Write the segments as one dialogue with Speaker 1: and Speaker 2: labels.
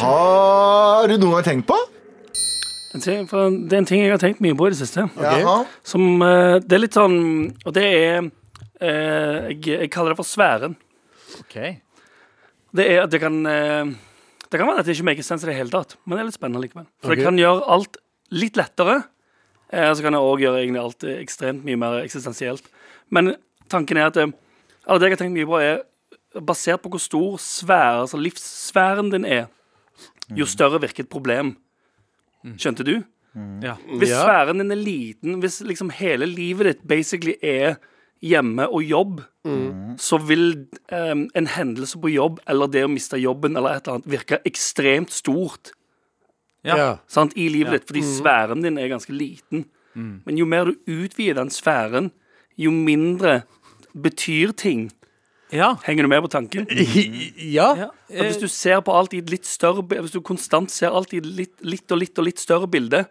Speaker 1: Ah, Har du noen gang tenkt på?
Speaker 2: En ting- for Det er en ting jeg har tenkt mye på i det siste.
Speaker 1: Jaha.
Speaker 2: Som eh, Det er litt sånn Og det er eh, jeg, jeg kaller det for sfæren.
Speaker 3: Ok.
Speaker 2: Det er at det kan eh, Det kan være at det ikke maker sens i det hele tatt, men det er litt spennende likevel. For
Speaker 4: Ok.
Speaker 2: det kan gjøre alt litt lettere, eh, og så kan det òg gjøre egentlig alt eh, ekstremt mye mer eksistensielt. Men tanken er at eh, Eller det jeg har tenkt mye på, er basert på hvor stor sfære, altså livssfæren din er,
Speaker 4: Mm.
Speaker 2: jo større virker et problem. Skjønte du?
Speaker 3: Ja.
Speaker 2: Hvis
Speaker 4: Mm. Ja.
Speaker 2: sfæren din er liten, hvis liksom hele livet ditt basically er hjemme og jobb, så vil em, en hendelse på jobb eller det å miste jobben eller et eller annet virke ekstremt stort
Speaker 3: Ja. Mm.
Speaker 2: sant, i livet ditt, fordi sfæren din er ganske liten. Men jo mer du utvider den sfæren, jo mindre betyr ting.
Speaker 3: Ja.
Speaker 2: Henger du med på tanken?
Speaker 4: Ja.
Speaker 2: At hvis du ser på alt i et litt større bi- Hvis du konstant ser alt i et litt, litt og litt og litt større bilde,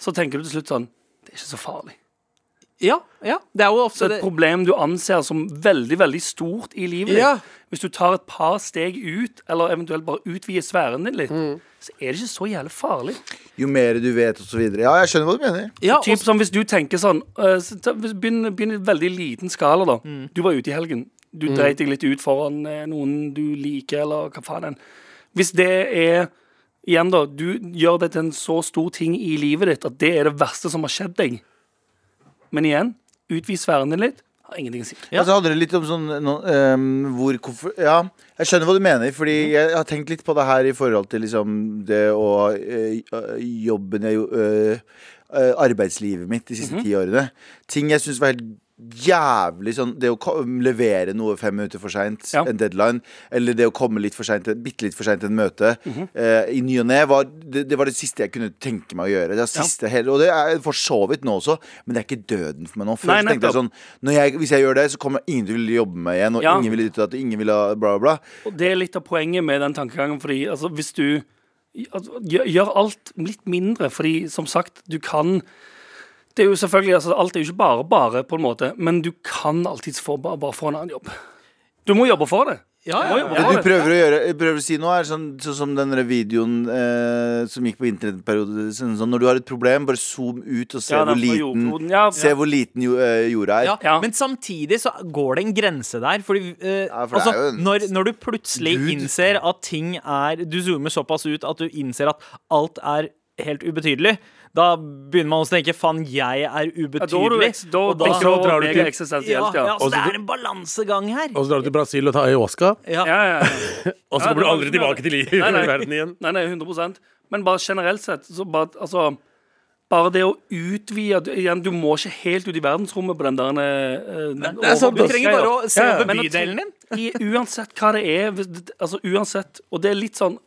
Speaker 2: så tenker du til slutt sånn Det er ikke så farlig.
Speaker 3: ja. ja. Det er jo
Speaker 2: Så
Speaker 3: ofte
Speaker 2: et
Speaker 3: det.
Speaker 2: problem du anser som veldig veldig stort i livet
Speaker 4: Ja.
Speaker 2: ditt, hvis du tar et par steg ut, eller eventuelt bare utvider sfæren din litt, så er det ikke så jævlig farlig.
Speaker 1: Jo mer du vet, og så videre. Ja, jeg skjønner hva du mener.
Speaker 3: Ja,
Speaker 2: typ
Speaker 3: og-
Speaker 2: som Hvis du tenker sånn øh, så ta- hvis- Begynn begynn i en veldig liten skala, da. Du var ute i helgen. Du dreit deg litt ut foran eh, noen du liker, eller hva faen enn. Hvis det er Igjen, da. Du gjør det til en så stor ting i livet ditt at det er det verste som har skjedd deg. Men igjen, utvid sfæren din litt. Har ingenting å si.
Speaker 1: Ja. så handler det litt om sånn no, ehm, hvor komfor- Ja, jeg skjønner hva du mener,
Speaker 2: Mm.
Speaker 1: fordi jeg har tenkt litt på det her i forhold til liksom det å eh, Jobben jeg gjorde eh, Arbeidslivet mitt de
Speaker 2: Mhm.
Speaker 1: siste ti årene. Ting jeg syns var helt jævlig sånn Det å ko- levere noe fem minutter for seint,
Speaker 2: Ja.
Speaker 1: en deadline, eller det å komme litt for seint, bitte litt for seint til et møte,
Speaker 2: Mhm.
Speaker 1: eh, i ny og ne, var, det, det var det siste jeg kunne tenke meg å gjøre. Det var siste hele, og det er for så vidt nå også, men det er ikke døden for meg nå. Før
Speaker 2: Nei,
Speaker 1: så tenkte jeg
Speaker 2: nettopp.
Speaker 1: sånn når jeg, hvis jeg gjør det, så kommer ingen til å ville jobbe med meg igjen. Og
Speaker 2: Ja.
Speaker 1: ingen vil ditt og datt, og ingen vil ha bla, bla, bla.
Speaker 2: Og det er litt av poenget med den tankegangen, fordi altså, hvis du altså, gjør, gjør alt litt mindre, fordi som sagt, du kan det er jo selvfølgelig, altså Alt er jo ikke bare bare, på en måte, men du kan alltids få, bare, bare få en annen jobb. Du må jobbe for det.
Speaker 3: Ja,
Speaker 2: Du
Speaker 3: ja, ja.
Speaker 2: må jobbe
Speaker 1: Det
Speaker 2: for
Speaker 1: du
Speaker 2: det.
Speaker 1: prøver å, gjøre, prøver å si nå, er sånn, sånn som den der videoen eh, som gikk på internettperiode. Sånn, sånn, når du har et problem, bare zoom ut og se
Speaker 2: Ja, den
Speaker 1: hvor
Speaker 2: fra
Speaker 1: liten,
Speaker 2: jordkloden, ja.
Speaker 1: se hvor liten jo, eh, jorda er.
Speaker 3: Ja,
Speaker 2: Ja.
Speaker 3: Men samtidig så går det en grense der. Fordi eh,
Speaker 1: Ja, for det
Speaker 3: altså,
Speaker 1: er jo en-
Speaker 3: når, når du plutselig
Speaker 1: Gud.
Speaker 3: innser at ting er Du zoomer såpass ut at du innser at alt er helt ubetydelig. Da begynner man også å tenke faen, jeg er
Speaker 2: Ja, da er du
Speaker 3: ubetydelig.
Speaker 2: eks- da-
Speaker 3: og da-
Speaker 2: da-
Speaker 4: så drar du
Speaker 2: mega
Speaker 4: til-
Speaker 2: eksistensielt,
Speaker 3: ja,
Speaker 2: ja.
Speaker 3: ja, så det er en balansegang her.
Speaker 4: Og så drar du til Brasil og tar ayahuasca.
Speaker 3: Ja.
Speaker 2: Ja, ja, ja.
Speaker 4: Og så kommer
Speaker 2: Ja,
Speaker 4: du
Speaker 2: det var
Speaker 4: aldri
Speaker 2: det som
Speaker 4: tilbake til livet
Speaker 2: Nei, nei.
Speaker 4: i verden igjen.
Speaker 2: Nei, nei, 100 Men bare generelt sett, så bare, altså, bare det å utvide du, igjen, Du må ikke helt ut i verdensrommet på den der eh,
Speaker 3: det er sant,
Speaker 2: overbruksgreia.
Speaker 3: du trenger bare å se
Speaker 2: Ja, ja.
Speaker 3: over
Speaker 2: Men at-
Speaker 3: bydelen din.
Speaker 2: i, uansett hva det er hvis det- altså uansett, Og det er litt sånn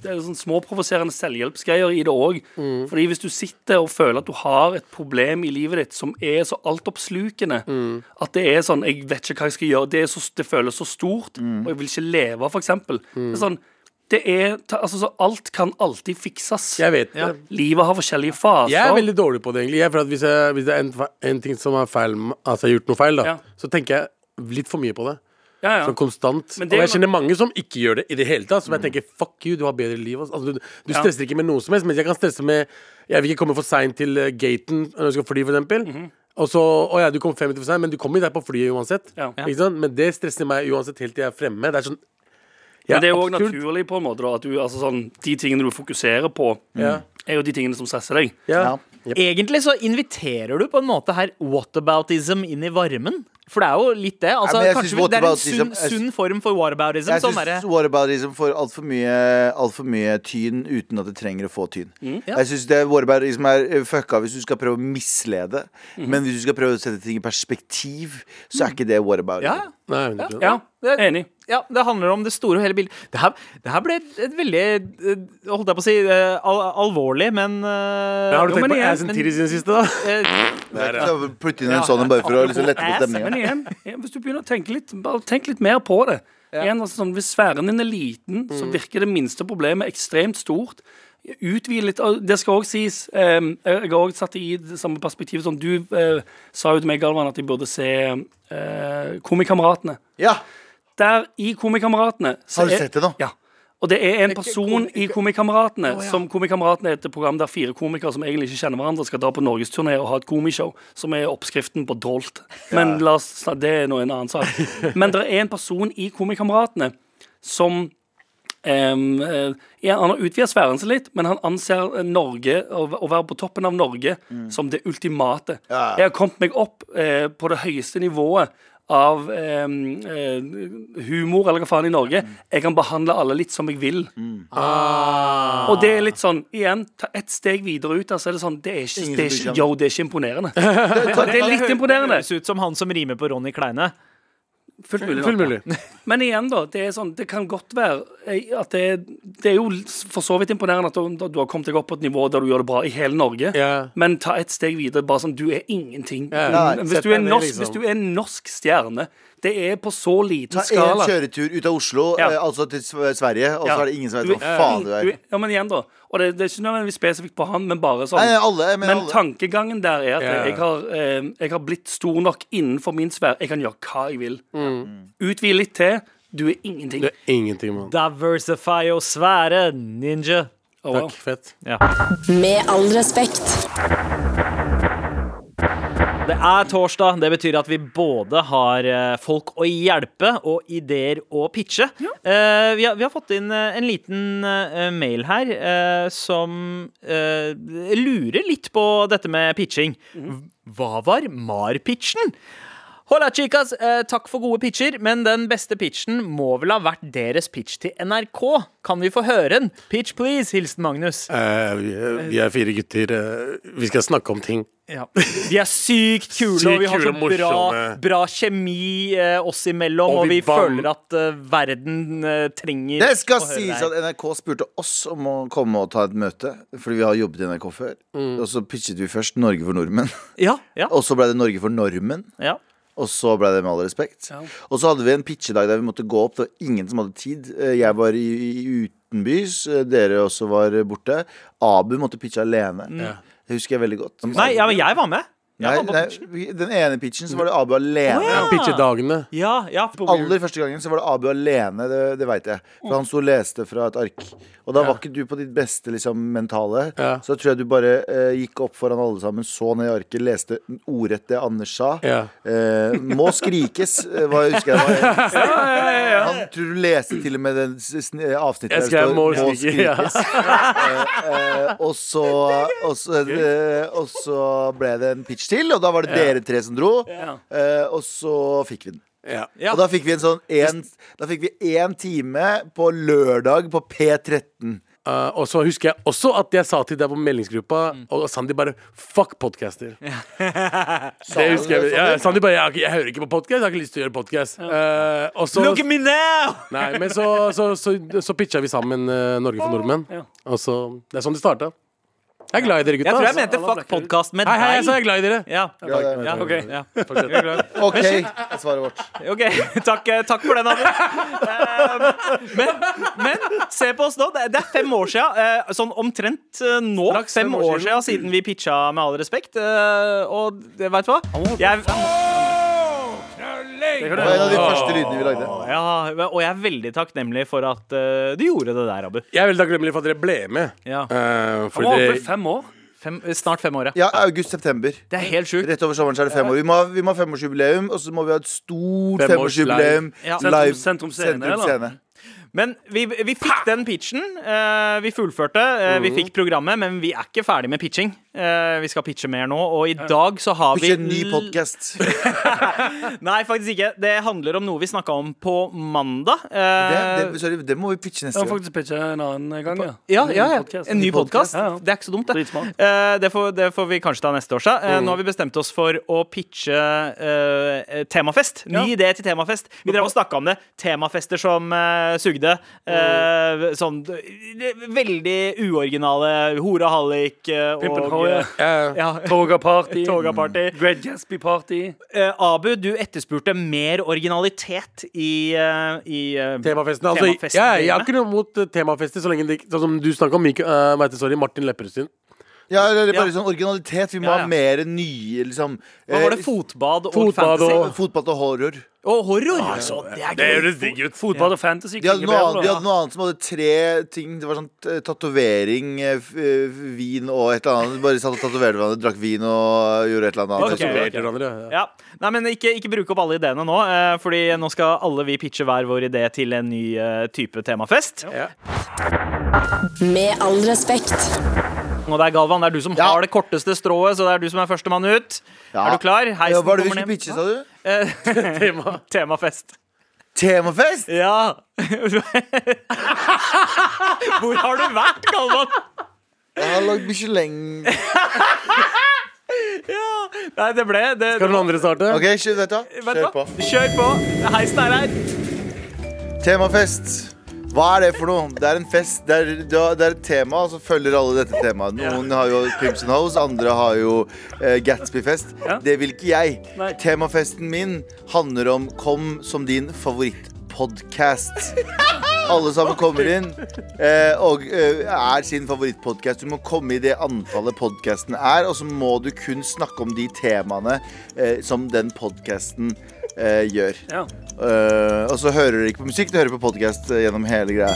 Speaker 2: Det er sånn småprovoserende selvhjelpsgreier i det òg.
Speaker 4: Mm.
Speaker 2: Fordi hvis du sitter og føler at du har et problem i livet ditt som er så altoppslukende
Speaker 4: Mm.
Speaker 2: at det er sånn Jeg vet ikke hva jeg skal gjøre. Det, er så, det føles så stort,
Speaker 4: Mm.
Speaker 2: og jeg vil ikke leve, for eksempel. Det er sånn det er, ta- altså, så alt kan alltid fikses.
Speaker 4: Jeg vet det.
Speaker 2: Livet har forskjellige faser.
Speaker 4: Jeg er veldig dårlig på det, egentlig. Jeg, for at hvis, jeg, hvis det er en, fe- en ting som er feil med- Altså jeg har gjort noe feil, da,
Speaker 2: Ja.
Speaker 4: så tenker jeg litt for mye på det.
Speaker 2: ja, ja.
Speaker 4: Sånn konstant.
Speaker 2: Men
Speaker 4: Og
Speaker 2: det er
Speaker 4: jeg
Speaker 2: jo-
Speaker 4: kjenner mange som ikke gjør det i det hele tatt. Som jeg tenker fuck you, du har bedre liv. ass. Altså, du du
Speaker 2: Ja.
Speaker 4: stresser ikke med noe som helst. Mens jeg kan stresse med Jeg vil ikke komme for seint til eh, gaten når jeg skal fly, for eksempel. Og så Å ja, du kom fem minutter for seint, men du kommer deg på flyet uansett.
Speaker 2: Ja.
Speaker 4: Ikke sant? Men det stresser meg uansett helt til jeg er fremme. Det er sånn Ja,
Speaker 2: Men det er jo òg
Speaker 4: absolutt.
Speaker 2: naturlig, på en måte, da, at du, altså, sånn, de tingene du fokuserer på,
Speaker 4: Ja.
Speaker 2: er jo de tingene som stresser deg.
Speaker 4: Mm. Ja.
Speaker 3: Egentlig så inviterer du på en måte her whataboutism inn i varmen. For det er jo litt det. Altså,
Speaker 1: Nei, men jeg
Speaker 3: kanskje
Speaker 1: synes
Speaker 3: vi- det er en
Speaker 1: whataboutism-
Speaker 3: sunn,
Speaker 1: jeg-
Speaker 3: sunn form for whataboutism.
Speaker 1: Jeg
Speaker 3: Sånn
Speaker 1: syns
Speaker 3: derre-
Speaker 1: whataboutism får altfor mye, alt for mye tyn uten at det trenger å få tyn.
Speaker 3: Mm, ja.
Speaker 1: Jeg syns whataboutism er eh, fucka hvis du skal prøve å mislede.
Speaker 3: Mhm.
Speaker 1: Men hvis du skal prøve å sette ting i perspektiv, så er ikke det whataboutism.
Speaker 3: Mm. ja, ja.
Speaker 4: Nei, 100%.
Speaker 2: Ja, enig.
Speaker 3: Ja, det handler om det store og hele bildet. Det her, det her ble et veldig eh, Holdt jeg på å si eh, al alvorlig, men eh,
Speaker 4: Men Har du
Speaker 3: jo,
Speaker 4: tenkt
Speaker 3: men
Speaker 4: på
Speaker 3: igjen,
Speaker 4: Ass and
Speaker 3: men-
Speaker 4: Titties i det siste, da?
Speaker 3: eh,
Speaker 1: Det er ikke sånn å Putte inn en sånn en bare for å liksom lette på
Speaker 2: Ass, men
Speaker 1: stemninga.
Speaker 2: igjen, igjen, hvis du begynner å tenke litt, bare tenk litt mer på det. Igjen, altså, sånn, hvis sfæren din er liten, så virker det minste problemet ekstremt stort. Utvid litt. og Det skal òg sies. eh, jeg har òg satt det i det samme perspektivet som du eh, sa jo til meg, Galvan, at jeg burde se uh, Komikameratene.
Speaker 1: Ja,
Speaker 2: Der i Komikameratene så
Speaker 1: Har du
Speaker 2: er-
Speaker 1: sett det nå?
Speaker 2: Ja. Og det er en person i Komikameratene som Komikameratene er et program der fire komikere som egentlig ikke kjenner hverandre, skal dra på norgesturné og ha et komishow, som er oppskriften på Dolt. Men la oss, snak- det er nå en annen sak. Men det er en person i Komikameratene som em, eh, ja, han har utvida sfæren sin litt, men han anser eh, Norge å v- å være på toppen av Norge som det ultimate.
Speaker 1: Mm. Ja.
Speaker 2: Jeg har kommet meg opp eh, på det høyeste nivået av em, eh, humor, eller hva faen, i Norge.
Speaker 1: Mm.
Speaker 2: Jeg kan behandle alle litt som jeg vil. Og det er litt sånn, igjen, ta ett steg videre ut, der, så er det sånn Det er ikke,
Speaker 1: Ingen
Speaker 2: det er
Speaker 1: som bryr
Speaker 2: ikke,
Speaker 1: seg.
Speaker 2: yo, det er ikke imponerende. Det er litt imponerende.
Speaker 3: Det høres ut som han som rimer på Ronny Kleine.
Speaker 2: Fullt mulig.
Speaker 4: Fullt
Speaker 2: nå.
Speaker 4: mulig.
Speaker 2: Men igjen, da. Det er sånn, det kan godt være eh, at det, det er jo for så vidt imponerende at du, du har kommet deg opp på et nivå der du gjør det bra i hele Norge.
Speaker 4: Ja.
Speaker 2: Men ta et steg videre. Bare sånn, du er ingenting.
Speaker 4: Ja,
Speaker 2: Du-
Speaker 4: nei,
Speaker 2: hvis,
Speaker 4: sett
Speaker 2: du er
Speaker 4: deg ned,
Speaker 2: norsk,
Speaker 4: liksom.
Speaker 2: hvis du er en norsk stjerne Det er på så liten
Speaker 1: Ta én
Speaker 2: skala.
Speaker 1: kjøretur ut av Oslo,
Speaker 2: Ja.
Speaker 1: eh, altså til Sve- Sverige, og så
Speaker 2: Ja.
Speaker 1: er det ingen som
Speaker 2: Du
Speaker 1: vet
Speaker 2: er-
Speaker 1: hva faen du er.
Speaker 2: du er- Ja, men igjen, da. Og det, det er ikke nødvendigvis spesifikt på han, men bare sånn.
Speaker 1: Nei, alle, jeg mener
Speaker 2: Men
Speaker 1: alle.
Speaker 2: tankegangen der er at
Speaker 4: Ja.
Speaker 2: jeg, har, eh, jeg har blitt stor nok innenfor min sfære. Jeg kan gjøre hva jeg vil.
Speaker 4: Mm.
Speaker 1: Mm.
Speaker 2: Utvid litt til. Du er ingenting.
Speaker 4: Det er ingenting, mann.
Speaker 3: Diversify og svære ninja.
Speaker 2: Oh, wow.
Speaker 4: Takk, fett.
Speaker 5: Med all respekt.
Speaker 3: Det er torsdag. Det betyr at vi både har eh, folk å hjelpe og ideer å pitche. Eh, vi, har, vi har fått inn eh, en liten eh, mail her eh, som eh, lurer litt på dette med pitching. Hva var MAR-pitchen? Hola chicas, eh, takk for gode pitcher, men den beste pitchen må vel ha vært deres pitch til NRK. Kan vi få høre den? Pitch please, hilsen Magnus.
Speaker 4: Eh, vi, er- vi er fire gutter. eh, vi skal snakke om ting.
Speaker 3: Ja. De er sykt kule,
Speaker 4: Sykt
Speaker 3: og vi har
Speaker 4: kule,
Speaker 3: så bra,
Speaker 4: morsomme.
Speaker 3: bra kjemi eh, oss imellom,
Speaker 4: Og
Speaker 3: og vi,
Speaker 4: vi bam-
Speaker 3: føler at eh, verden eh, trenger
Speaker 1: Det skal
Speaker 3: å høre
Speaker 1: sies
Speaker 3: deg.
Speaker 1: at NRK spurte oss om å komme og ta et møte, fordi vi har jobbet i NRK før. Og så pitchet vi først Norge for nordmenn,
Speaker 3: Ja, ja,
Speaker 1: og så ble det Norge for normen.
Speaker 3: ja.
Speaker 1: Og så ble det med all respekt.
Speaker 2: Ja.
Speaker 1: Og så hadde vi en pitchedag der vi måtte gå opp. Det var ingen som hadde tid. Eh, Jeg var i, i utenbys, eh, dere også var eh, borte. Abu måtte pitche alene. Det husker jeg veldig godt.
Speaker 3: Nei, ja, men jeg var med.
Speaker 1: Nei,
Speaker 3: Jeg var
Speaker 1: nei,
Speaker 3: med på pitchen.
Speaker 1: vi- den ene pitchen så var det Abu alene.
Speaker 3: ja.
Speaker 4: Pitchedagene.
Speaker 3: Ja, ja.
Speaker 1: Aller første gangen så var det Abu alene, det, det veit jeg. For han sto og leste fra et ark. Og da var ikke du på ditt beste liksom, mentale.
Speaker 4: Ja.
Speaker 1: Så da tror jeg du bare eh, gikk opp foran alle sammen, så ned i arket, leste ordrett det Anders sa.
Speaker 4: Ja.
Speaker 1: Eh, må skrikes, eh, hva jeg husker jeg. Var. Han tror du leste til og med den s- sn- avsnittet der
Speaker 4: Jeg
Speaker 1: det
Speaker 4: skrev
Speaker 1: står,
Speaker 4: må skrike, ja.
Speaker 1: Eh, eh, og, så, og, så, eh, og så ble det en pitch til, og da var det dere tre som dro. Eh, og så fikk vi den.
Speaker 4: Ja.
Speaker 3: Ja.
Speaker 1: Og da fikk vi en sånn en, Da fikk vi én time på lørdag på P13.
Speaker 4: Eh, og så husker jeg også at jeg sa til deg på meldingsgruppa,
Speaker 3: Mm.
Speaker 4: og Sandeep bare Fuck podcaster. det husker jeg. Ja, Sandeep bare jeg, jeg hører ikke på podkast, jeg har ikke lyst til å gjøre podkast. og så
Speaker 3: Look at me now!
Speaker 4: Nei, men så, så, så, så pitcha vi sammen eh, Norge for nordmenn.
Speaker 2: Ja.
Speaker 4: Og så Det er sånn det starta. Jeg er glad i dere, gutta.
Speaker 3: Jeg tror jeg mente
Speaker 4: altså.
Speaker 3: fuck podcast med
Speaker 4: Hei, hei, jeg sa
Speaker 3: deg.
Speaker 4: jeg er glad i dere.
Speaker 3: Ja,
Speaker 1: Ja, det er-
Speaker 3: ja,
Speaker 4: ok.
Speaker 3: ja.
Speaker 4: Fortsett.
Speaker 1: OK, er svaret vårt.
Speaker 3: Ok, takk, eh, takk for den, Abu. Eh, Men, men se på oss nå. Det det er fem år siden. eh, Sånn omtrent eh, nå.
Speaker 4: Straks
Speaker 3: Fem år siden siden vi pitcha Med all respekt. eh, Og det- vet du hva? Jeg,
Speaker 1: Det var en av de første lydene vi lagde.
Speaker 3: ja, og jeg er veldig takknemlig for at eh, du gjorde det der, Abu.
Speaker 4: Jeg er veldig takknemlig for at dere ble med.
Speaker 3: Ja.
Speaker 4: Eh,
Speaker 2: Han var
Speaker 4: fordi
Speaker 2: oppe i
Speaker 4: dere
Speaker 2: fem år.
Speaker 3: Fem, snart fem år, ja.
Speaker 1: Ja, august-september.
Speaker 3: Det er helt sjukt.
Speaker 1: Rett over sommeren så er det fem år. Vi må ha, vi må ha femårsjubileum, og så må vi ha et stort
Speaker 4: Femårs
Speaker 1: femårsjubileum
Speaker 3: live. Ja.
Speaker 1: live.
Speaker 2: Sentrum- Sentrum Scene,
Speaker 1: Sentrum
Speaker 2: eller?
Speaker 1: Scene.
Speaker 3: Men vi, vi fikk den pitchen. eh, vi fullførte. eh, vi fikk programmet, men vi er ikke ferdig med pitching. Eh, vi skal pitche mer nå, og i dag så har vi
Speaker 1: Ikke en ny podkast. Det,
Speaker 3: Nei, faktisk ikke. Det handler om noe vi snakka om på mandag. Eh,
Speaker 1: det, sorry, det må vi pitche neste
Speaker 2: Jeg har
Speaker 1: gang.
Speaker 2: faktisk pitcha en annen gang, ja.
Speaker 3: ja, ja,
Speaker 2: En
Speaker 3: ja.
Speaker 2: podcast.
Speaker 3: En ny podkast.
Speaker 2: Ja, ja.
Speaker 3: Det er ikke så dumt, det.
Speaker 2: Dritsmart.
Speaker 3: Eh, det, får, det får vi kanskje ta neste år, så. Eh, Nå har vi bestemt oss for å pitche eh, temafest. Ny
Speaker 2: Ja.
Speaker 3: idé til temafest. Vi drev og snakka om det. Temafester som eh, sugde.
Speaker 2: Mm.
Speaker 3: Eh, sånn eh, veldig uoriginale hora hallik eh,
Speaker 2: Pimpen
Speaker 3: og
Speaker 2: Hoie.
Speaker 3: eh, ja,
Speaker 2: Toga-party.
Speaker 3: Toga-party.
Speaker 2: Great Gatsby-party.
Speaker 3: Eh, Abu, du etterspurte mer originalitet i, eh, i eh,
Speaker 4: Temafesten. Altså,
Speaker 3: Temafesten,
Speaker 4: ja, jeg har
Speaker 3: Trine.
Speaker 4: ikke noe mot eh, temafester, så lenge det ikke Sånn som du snakka om Mik eh, hva heter det, sorry, Martin Lepperød sin.
Speaker 1: Ja, eller bare
Speaker 3: Ja.
Speaker 1: sånn originalitet. Vi må
Speaker 3: Ja, ja.
Speaker 1: ha mer nye, liksom.
Speaker 3: Hva var det?
Speaker 1: Eh,
Speaker 3: Fotbad og
Speaker 4: Fotbad
Speaker 3: fantasy?
Speaker 4: og-
Speaker 1: Fotball og horror.
Speaker 3: Og horror! Altså, det er gøy.
Speaker 4: sånn, høres digg ut.
Speaker 2: Fotball og fantasy.
Speaker 1: De hadde,
Speaker 2: klinger
Speaker 1: noe
Speaker 2: bedre,
Speaker 1: annet, de
Speaker 2: da.
Speaker 1: hadde noe annet som hadde tre ting. Det var sånn eh, tatovering, eh, f- eh, vin og et eller annet. De Bare satt og tatoverte hverandre, drakk vin og eh, gjorde et eller annet.
Speaker 3: Ok.
Speaker 1: annet.
Speaker 4: Tatoverte hverandre. Ja.
Speaker 3: Ja. Nei, men ikke, ikke bruk opp alle ideene nå, eh, Fordi nå skal alle vi pitche hver vår idé til en ny eh, type temafest.
Speaker 5: Med all respekt.
Speaker 3: Og det er Galvan, det er du som
Speaker 1: Ja.
Speaker 3: har det korteste strået, så det er du som er førstemann ut.
Speaker 1: Ja.
Speaker 3: Er du klar?
Speaker 1: Ja,
Speaker 3: Heisen
Speaker 1: hva er det vi
Speaker 3: kommer
Speaker 1: skulle
Speaker 3: ned.
Speaker 1: pitche, sa du?
Speaker 3: Tema. Temafest.
Speaker 1: Temafest?
Speaker 3: Ja. Hvor har du vært, Galvan?
Speaker 1: Jeg har lagd Michelin.
Speaker 3: Nei, det ble det,
Speaker 4: Skal noen andre starte?
Speaker 1: OK, kjør, vet du. hva?
Speaker 3: Vent
Speaker 1: kjør
Speaker 3: da.
Speaker 1: på.
Speaker 3: Kjør på. Heisen er her.
Speaker 1: Temafest. Hva er det for noe? Det er en fest. Det er, det er- det er et tema, og så følger alle dette temaet. Noen har jo Crimson House, andre har jo eh, Gatsby-fest.
Speaker 2: Ja.
Speaker 1: Det vil ikke jeg.
Speaker 2: Nei.
Speaker 1: Temafesten min handler om Kom som din favorittpodkast. Alle sammen kommer inn eh, og eh, er sin favorittpodkast. Du må komme i det antallet podkasten er, og så må du kun snakke om de temaene eh, som den podkasten eh, gjør.
Speaker 2: Ja.
Speaker 1: Eh, og så hører dere ikke på musikk, du hører på podkast gjennom hele greia.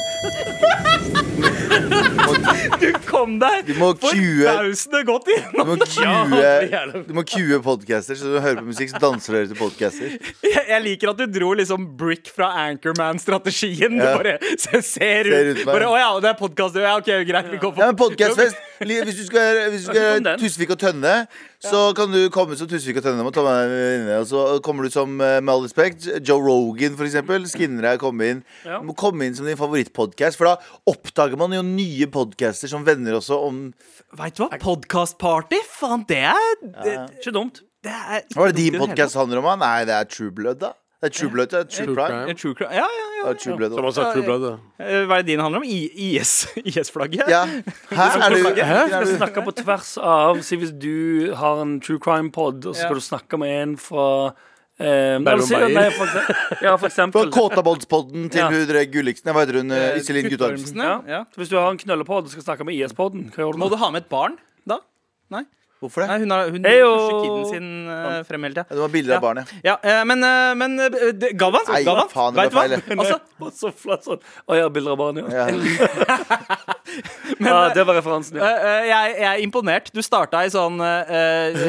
Speaker 3: Kom deg
Speaker 1: Du må cue
Speaker 3: forbausende godt
Speaker 1: du
Speaker 3: gjennom.
Speaker 1: må
Speaker 4: Ja,
Speaker 1: cue,
Speaker 4: jævlig.
Speaker 1: du må cue podcaster, så når du hører på musikk, så danser dere til podcaster.
Speaker 3: Jeg jeg liker at du dro liksom Brick fra Anchorman-strategien. Du
Speaker 1: Ja.
Speaker 3: bare se- ser
Speaker 1: Ser
Speaker 3: ut.
Speaker 1: ut på
Speaker 3: Bare,
Speaker 1: meg.
Speaker 3: å ja, det er podkast. Ja, ok, greit, vi går
Speaker 1: Ja,
Speaker 3: for
Speaker 1: men podcastfest li- Hvis du skal gjøre- hvis du skal
Speaker 2: Kom
Speaker 1: gjøre
Speaker 2: den.
Speaker 1: Tusvik og Tønne, så kan du komme som Tusvik og Tønne. Må ta med deg venninne, Og så kommer du som, eh, med all respekt, Joe Rogan, for eksempel. Skinner deg, komme inn.
Speaker 2: Ja.
Speaker 1: Du må komme inn som din favorittpodkast, for da oppdager man jo nye podcaster som venner også om
Speaker 3: Vet du hva? Podkastparty? Faen, det er det,
Speaker 2: Ikke dumt.
Speaker 3: det er ikke
Speaker 1: Hva er det
Speaker 3: dumt i
Speaker 1: din
Speaker 3: hele
Speaker 1: podcast handler om? da? Nei, det er True Blood, da. Det er True Blood, det er True
Speaker 4: True
Speaker 1: Crime.
Speaker 4: crime.
Speaker 3: tatt. True crime. Ja, ja, ja.
Speaker 1: Ja, True Blood
Speaker 4: Som
Speaker 1: også.
Speaker 4: har sagt True Blood, da.
Speaker 3: Eh, Hva er det din handler om? I- IS? IS-flagget?
Speaker 1: Ja. Hæ? Er du, er
Speaker 2: Vi
Speaker 1: du
Speaker 2: snakker på tvers av Si hvis du har en true crime-pod, og så skal du snakke med en fra eh, eller si-
Speaker 4: Bærum Beier.
Speaker 2: nei, for eksempel, Ja,
Speaker 1: Fra
Speaker 2: for eksempel.
Speaker 1: Kåtabodspodden til
Speaker 2: Ja.
Speaker 1: hun Røe Gulliksen. Nei, Hva heter hun? eh, Iselin Guttormsen.
Speaker 3: Ja.
Speaker 2: Ja. Så Hvis du har en knøllepod og skal snakke med IS-poden, hva gjør du
Speaker 3: Må
Speaker 2: nå?
Speaker 3: du ha med et barn da? Nei,
Speaker 1: Hvorfor
Speaker 3: Nei
Speaker 1: det?
Speaker 3: hun, har, hun
Speaker 2: Heyo!
Speaker 3: pusher kiden sin eh, frem hele
Speaker 1: Ja,
Speaker 3: tida.
Speaker 1: Det var bilder av barnet.
Speaker 3: Ja, eh, men, eh, men eh, det- Galvan,
Speaker 1: Nei,
Speaker 3: Galvan
Speaker 1: faen,
Speaker 3: vet
Speaker 1: det
Speaker 3: du
Speaker 1: var
Speaker 3: hva?
Speaker 1: feil.
Speaker 3: Altså,
Speaker 2: Bare så flatt sånn. Å ja, bilder av barn, ja.
Speaker 1: Ja.
Speaker 2: ja. Det var referansen, ja.
Speaker 3: Eh, eh, jeg, jeg er imponert. Du starta i sånn eh, eh,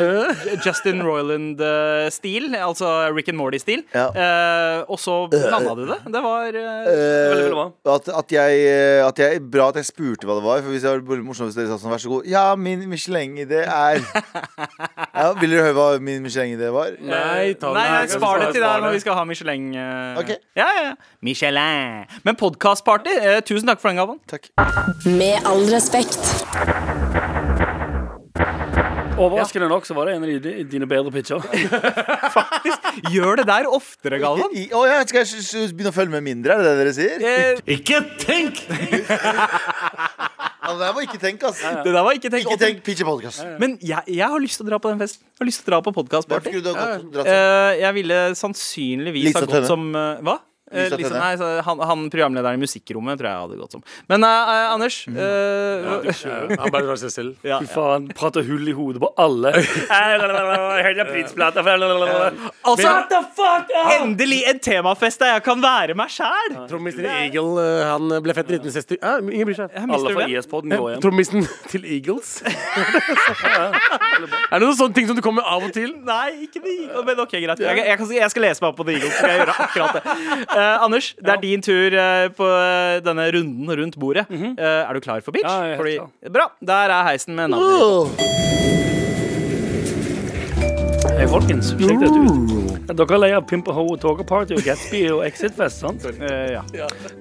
Speaker 3: Justin Royland-stil. altså Rick and Morty-stil.
Speaker 1: Ja.
Speaker 3: Eh, og så landa du det. Det var eh,
Speaker 2: veldig
Speaker 1: Eh,
Speaker 2: bra.
Speaker 1: at, at, jeg, eh, at jeg Bra at jeg spurte hva det var. For hvis det var bare morsomt hvis dere sa sånn, vær så god. Ja, min Michelin-idé er ja, Vil dere høre hva min Michelin-idé var?
Speaker 4: Nei, ta
Speaker 3: Nei,
Speaker 4: den.
Speaker 3: jeg spar det til deg
Speaker 4: Spar
Speaker 3: når
Speaker 4: det.
Speaker 3: vi skal ha Michelin. eh,
Speaker 1: Ok.
Speaker 3: Ja, ja, ja. Michelin. Men podkastparty, eh, tusen takk for den gaven.
Speaker 1: Takk.
Speaker 5: Med all respekt.
Speaker 2: Overraskende nok så var det en av de, dine bedre pitcher.
Speaker 3: Gjør det der oftere, Galvan.
Speaker 1: I, å, ja, skal jeg s- s- begynne å følge med mindre? Er det det dere sier?
Speaker 3: Eh,
Speaker 1: Ja, det der var ikke tenk, ass.
Speaker 3: det der var ikke tenkt.
Speaker 1: Ikke tenk pitcher podcast.
Speaker 3: Men jeg, jeg har lyst til å dra på den festen. Jeg har lyst til å dra på
Speaker 1: Hvorfor
Speaker 3: podkastparty.
Speaker 1: skulle du ha gått og dratt seg?
Speaker 3: Eh, jeg ville sannsynligvis
Speaker 1: Lisa
Speaker 3: ha gått
Speaker 1: Tønne.
Speaker 3: som eh, Hva? Eh,
Speaker 1: Lisa
Speaker 3: Lisa,
Speaker 1: Tønne.
Speaker 3: nei, så han, han programlederen i Musikkrommet tror jeg jeg hadde gått som. Men eh, eh, Anders
Speaker 1: Mm.
Speaker 3: eh,
Speaker 4: Ja, Han bare drar seg selv.
Speaker 3: ja,
Speaker 2: Fy faen, prater hull i hodet på alle. Hele prinsplata
Speaker 3: Altså,
Speaker 2: What the fuck? Ah!
Speaker 3: endelig en temafest der jeg kan være meg sjæl!
Speaker 4: Trommisen til Eagle eh, Han ble født i 1960. Ja, ingen bryr seg.
Speaker 2: Alle fra
Speaker 3: Mister du det?
Speaker 2: IS-poden går hjem.
Speaker 4: Trommisen til Eagles. er det noen sånne ting som du kommer av og til?
Speaker 3: Nei, ikke de. Men ok, greit. Jeg, jeg, kan, jeg skal lese meg opp på The Eagles. Skal jeg gjøre akkurat det. Eh, Anders, det er din tur eh, på eh, denne runden rundt bordet. Eh, er du klar for bitch?
Speaker 2: Mhm. Ja, jeg er helt
Speaker 3: Fordi, bra. Der er heisen med navnet ditt.
Speaker 2: Hei, folkens. Sjekk dette ut. Dere er lei av Pimp a Hoe, Talker Party og Gatsby og Exit-fest, sant?
Speaker 3: Eh, ja.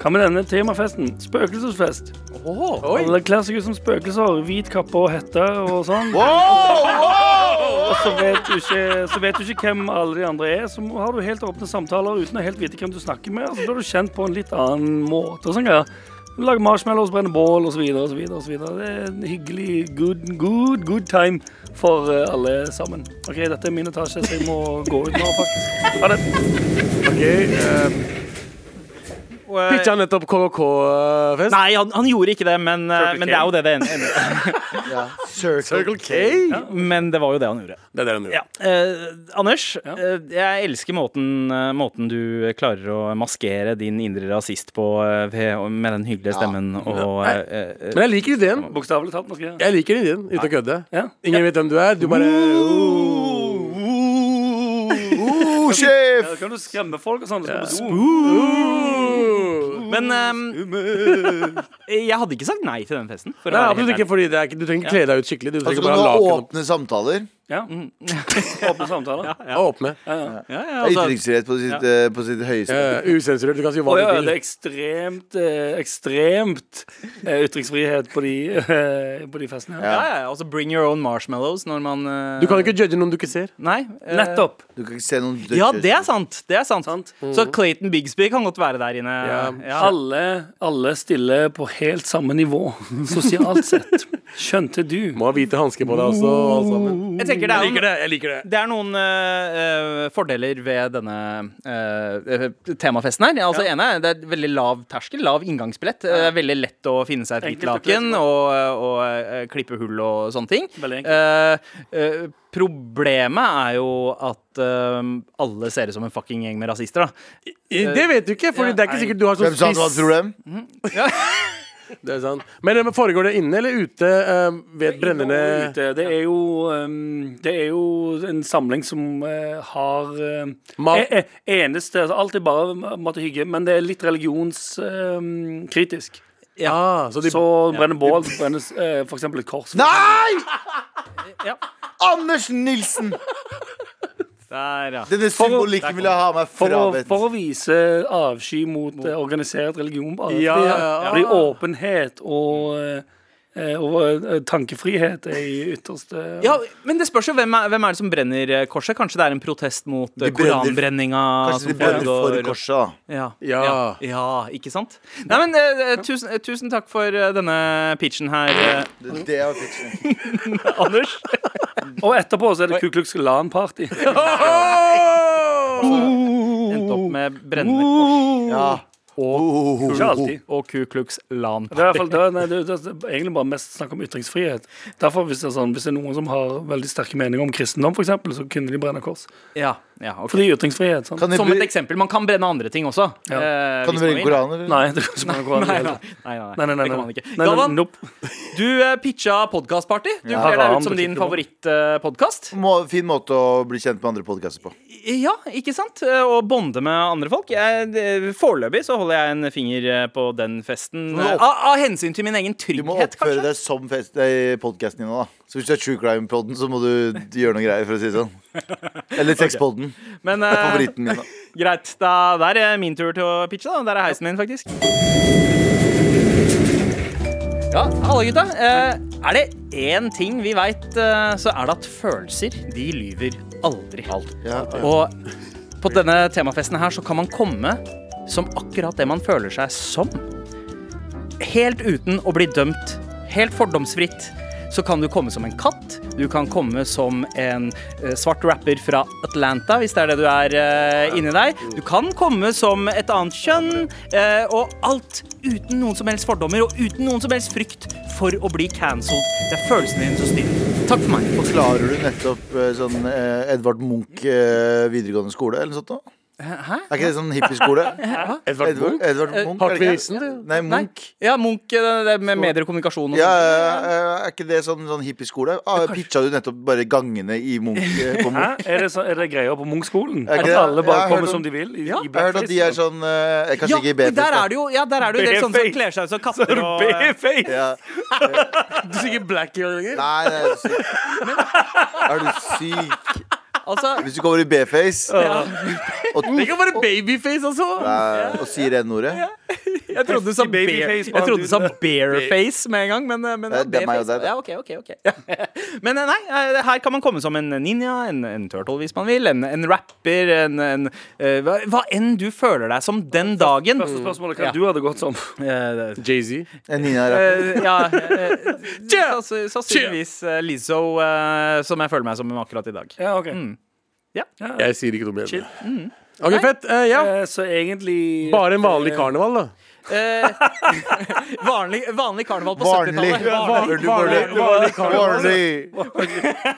Speaker 2: Hva med denne temafesten? Spøkelsesfest. Alle kler seg ut som spøkelser. Hvit kappe og hette og sånn. Og så vet, du ikke, så vet du ikke hvem alle de andre er. Så må- har du helt åpne samtaler uten å helt vite hvem du snakker med. Og så blir du kjent på en litt annen måte. Og sånn, ja. Du lager marshmallows, brenner bål osv. Det er en hyggelig good, good, good time for eh, alle sammen. OK, dette er min etasje, så jeg må gå ut nå, faktisk. Ha det.
Speaker 3: Og, eh,
Speaker 4: Pitcha nettopp KK-fest.
Speaker 3: Nei, han, han gjorde ikke det, men, eh, men det er jo det det ender
Speaker 4: Circle K.
Speaker 3: Men det var jo det han gjorde.
Speaker 4: Det er det han gjorde.
Speaker 3: Ja. Eh, Anders, eh, jeg elsker måten, eh, måten du klarer å maskere din indre rasist på eh, ved, og med den hyggelige stemmen og eh, eh,
Speaker 4: Men jeg liker ideen.
Speaker 2: Bokstavelig talt, måske.
Speaker 4: Jeg liker ideen, uten å kødde.
Speaker 2: Ja.
Speaker 4: Ingen vet hvem du er. Du bare
Speaker 1: Oh, sjef!
Speaker 2: Da kan du skremme folk og sånn. så skal du-
Speaker 3: Men eh, jeg hadde ikke sagt nei til den festen. for å
Speaker 4: Nei,
Speaker 3: være
Speaker 4: absolutt
Speaker 3: helt
Speaker 4: ikke, fordi det er ikke, du trenger ikke kle deg ut skikkelig. Du
Speaker 1: Og så
Speaker 4: trenger
Speaker 1: kan
Speaker 4: bare
Speaker 1: Altså, du
Speaker 4: ha
Speaker 1: ha
Speaker 4: laken opp.
Speaker 1: åpne samtaler.
Speaker 2: Ja. Åpne samtaler.
Speaker 4: Ja, åpne.
Speaker 3: ærlig. Ja, ja,
Speaker 1: Det er
Speaker 3: altså,
Speaker 1: Ytringsfrihet på sitt, eh, på sitt høyeste.
Speaker 4: Eh, Usensurert. Du kan si hva
Speaker 2: Å
Speaker 4: du
Speaker 2: ja, det
Speaker 4: vil.
Speaker 2: er ekstremt eh, Ekstremt eh, ytringsfrihet på de, eh, på de festene. her.
Speaker 3: ja, ja, altså bring your own marshmallows når man eh,
Speaker 4: Du kan ikke judge noen du ikke ser.
Speaker 3: Nei. eh,
Speaker 2: Nettopp.
Speaker 1: Du kan ikke se noen
Speaker 3: Ja, det er sant. Det er sant. Så Clayton Bigsby kan godt være der inne.
Speaker 4: Ja.
Speaker 3: Ja.
Speaker 2: Alle, alle stiller på helt samme nivå sosialt sett. Skjønte du?
Speaker 4: Må ha hvite hansker på deg også. og alt sammen.
Speaker 3: Jeg tenker det er
Speaker 4: det. jeg liker det
Speaker 3: Det er noen eh, eh, fordeler ved denne eh, eh, temafesten her. Altså ene, er Det er veldig lav terskel, lav inngangsbillett. Det er veldig lett å finne seg et hvitt
Speaker 2: Enkelt å kle seg
Speaker 3: laken
Speaker 2: på.
Speaker 3: og, og eh, klippe hull og sånne ting.
Speaker 2: Veldig enkelt.
Speaker 3: Eh, eh, problemet er jo at eh, alle ser ut som en fucking gjeng med rasister, da.
Speaker 4: Det vet du ikke, for det er ikke sikkert du har sånn
Speaker 1: Hvem sa det var et problem?
Speaker 3: Mm.
Speaker 4: Det er sant. Men eh, foregår det inne eller ute eh, ved et brennende
Speaker 2: Ute, Det er jo ehm, Det er jo en samling som eh, har ehm,
Speaker 4: Mat.
Speaker 2: e- e- Eneste altså Alt er bare mat og hygge, men det er litt religionskritisk.
Speaker 4: Ja, Ah, så de
Speaker 2: Så brenner bål, så brenner eh, for eksempel et kors.
Speaker 1: Nei!
Speaker 3: Ja.
Speaker 1: Anders Nilsen!
Speaker 3: Der, ja.
Speaker 1: Denne symbolikken vil jeg ha meg
Speaker 2: For å,
Speaker 1: frabedt.
Speaker 2: for å vise avsky mot eh, organisert religion. Bare,
Speaker 4: Ja,
Speaker 2: fordi,
Speaker 4: ja, ja.
Speaker 2: fordi åpenhet og, eh, og eh, tankefrihet er i ytterste
Speaker 3: Ja, men det spørs jo hvem er, hvem er det som brenner eh, korset. Kanskje det er en protest mot eh,
Speaker 1: brenner-
Speaker 3: koranbrenninga.
Speaker 1: Kanskje de
Speaker 3: som
Speaker 1: brenner for
Speaker 3: foregår.
Speaker 1: korset, da.
Speaker 3: Ja.
Speaker 4: Ja.
Speaker 3: ja. Ja, ikke sant? Nei, men eh, eh, tusen, eh, tusen takk for eh, denne pitchen her, eh,
Speaker 1: Det- Det er fiksen.
Speaker 3: Anders.
Speaker 2: Og etterpå så er det Ku Klux Lan-party.
Speaker 3: Endte opp med brennende kors
Speaker 1: Ja.
Speaker 2: Ikke alltid.
Speaker 3: og Ku Klux Lan.
Speaker 2: Det er, i hvert fall, det, er, nei, det, det er egentlig bare mest snakk om ytringsfrihet. Derfor Hvis det er, sånn, hvis det er noen som har veldig sterke meninger om kristendom, for eksempel, så kunne de brenne kors.
Speaker 3: Ja, ja, ok.
Speaker 2: Fordi ytringsfrihet. sånn. sant?
Speaker 1: Kan de
Speaker 3: Som et
Speaker 1: bli-
Speaker 3: eksempel. Man kan brenne andre ting også.
Speaker 2: Ja.
Speaker 3: eh,
Speaker 1: kan
Speaker 3: hvis
Speaker 1: de brenne
Speaker 3: man vil.
Speaker 1: koraner? eller?
Speaker 2: Nei, det kan ikke man gå an i
Speaker 3: Nei,
Speaker 2: det hele
Speaker 3: nei,
Speaker 2: tatt.
Speaker 3: nei, nei,
Speaker 2: Nei, nei, nei.
Speaker 3: det kan man
Speaker 2: nei.
Speaker 3: ikke.
Speaker 2: Nei, nei,
Speaker 3: Galvan,
Speaker 2: nope.
Speaker 3: du eh, pitcha podkastparty. Du
Speaker 2: Ja,
Speaker 3: kler deg
Speaker 2: Haram,
Speaker 3: ut som din eh,
Speaker 2: butikkklubben.
Speaker 3: favorittpodkast.
Speaker 1: Må- Fin måte å bli kjent med andre podkaster på.
Speaker 3: Ja, ikke sant? Eh, Og bonde med andre folk. Jeg, det- foreløpig så holder jeg en finger eh, på den festen.
Speaker 1: må
Speaker 3: eh,
Speaker 1: opp-
Speaker 3: Av, av hensyn til min egen
Speaker 1: Du må
Speaker 3: trygghet,
Speaker 1: oppføre deg
Speaker 3: kanskje.
Speaker 1: som podkasten din nå, da. Så hvis du er True Crime-podden, så må du gjøre noen greier, for å si det sånn. Eller Sexpodden.
Speaker 3: Men eh,
Speaker 1: Favoritten min, da.
Speaker 3: greit, da, der er min tur til å pitche. da Der er heisen min, faktisk. Ja, hallo, gutta. Eh, er det én ting vi veit, eh, så er det at følelser, de lyver aldri.
Speaker 1: Ja.
Speaker 3: Og på denne temafesten her så kan man komme som akkurat det man føler seg som. Helt uten å bli dømt. Helt fordomsfritt. Så kan du komme som en katt. Du kan komme som en eh, svart rapper fra Atlanta, hvis det er det du er eh, inni deg. Du kan komme som et annet kjønn. eh, og alt uten noen som helst fordommer og uten noen som helst frykt for å bli cancelled. Det er følelsene dine som styrer. Takk for meg.
Speaker 1: Forklarer du nettopp eh, sånn eh, Edvard Munch eh, videregående skole eller noe sånt? da? Er ikke det sånn hippieskole?
Speaker 4: Edvard
Speaker 1: Edvard,
Speaker 4: Munch?
Speaker 1: Edvard Munch, er
Speaker 4: Hartvig
Speaker 1: det
Speaker 4: Nilsen,
Speaker 1: ikke?
Speaker 4: du?
Speaker 1: Nei, Munch.
Speaker 3: Ja, Munch, det, det med medier og kommunikasjon og
Speaker 1: Ja,
Speaker 3: sånt.
Speaker 1: eh, er ikke det sånn, sånn hippieskole? Ah, pitcha du nettopp bare gangene i Munch eh, på
Speaker 2: Hæ?
Speaker 1: Munch?
Speaker 2: Er det, så, er det greia på Munch-skolen?
Speaker 1: Er ikke
Speaker 2: At
Speaker 1: det-
Speaker 2: alle
Speaker 1: jeg
Speaker 2: bare
Speaker 1: har hørt
Speaker 2: kommer
Speaker 1: om-
Speaker 2: som de vil? I, i
Speaker 1: Jeg har hørt at de er
Speaker 2: blackface?
Speaker 1: sånn eh, Kanskje
Speaker 3: Ja,
Speaker 1: ikke i
Speaker 3: men der er
Speaker 1: B-fest.
Speaker 3: det jo Ja, der er det jo en del sånne som
Speaker 2: Bareface.
Speaker 3: kler seg ut som katter og
Speaker 2: Bareface!
Speaker 1: Ja.
Speaker 4: Du sier ikke black i år lenger?
Speaker 1: Nei, nei, er du syk? Er du syk?
Speaker 3: Altså,
Speaker 1: Hvis du kommer i B-face og,
Speaker 4: Det kan være babyface, altså!
Speaker 1: eh, og sier N-ordet
Speaker 3: jeg trodde du sa bare,
Speaker 2: Babyface,
Speaker 3: Jeg trodde du sa
Speaker 2: bare
Speaker 3: bareface med en gang, men, eh, men ja,
Speaker 1: Det er meg og
Speaker 3: bareface.
Speaker 1: deg, det.
Speaker 3: Ja, ok, ok, ok Men eh, nei, eh, her kan man komme som en ninja, en, en turtle hvis man vil, en, en rapper, en, en eh, hva, hva enn du føler deg som den dagen.
Speaker 2: Første spørsmålet hva
Speaker 3: Ja.
Speaker 2: du hadde gått som.
Speaker 3: Eh,
Speaker 4: Jay-Z.
Speaker 1: En Nina er rapper.
Speaker 3: Eh, ja eh, sanns- Sannsynligvis eh, Lizzo, eh, som jeg føler meg som akkurat i dag.
Speaker 2: Ja, ok
Speaker 4: Mm. Jeg sier ikke noe mer.
Speaker 2: Chill.
Speaker 4: OK, fett. Eh, ja.
Speaker 2: Eh, Så egentlig
Speaker 4: Bare en vanlig karneval, da.
Speaker 3: Eh, vanlig, vanlig karneval på
Speaker 1: Vanlig.
Speaker 3: 70-tallet. Vanlig.
Speaker 1: Vanlig. Vanlig. Vanlig.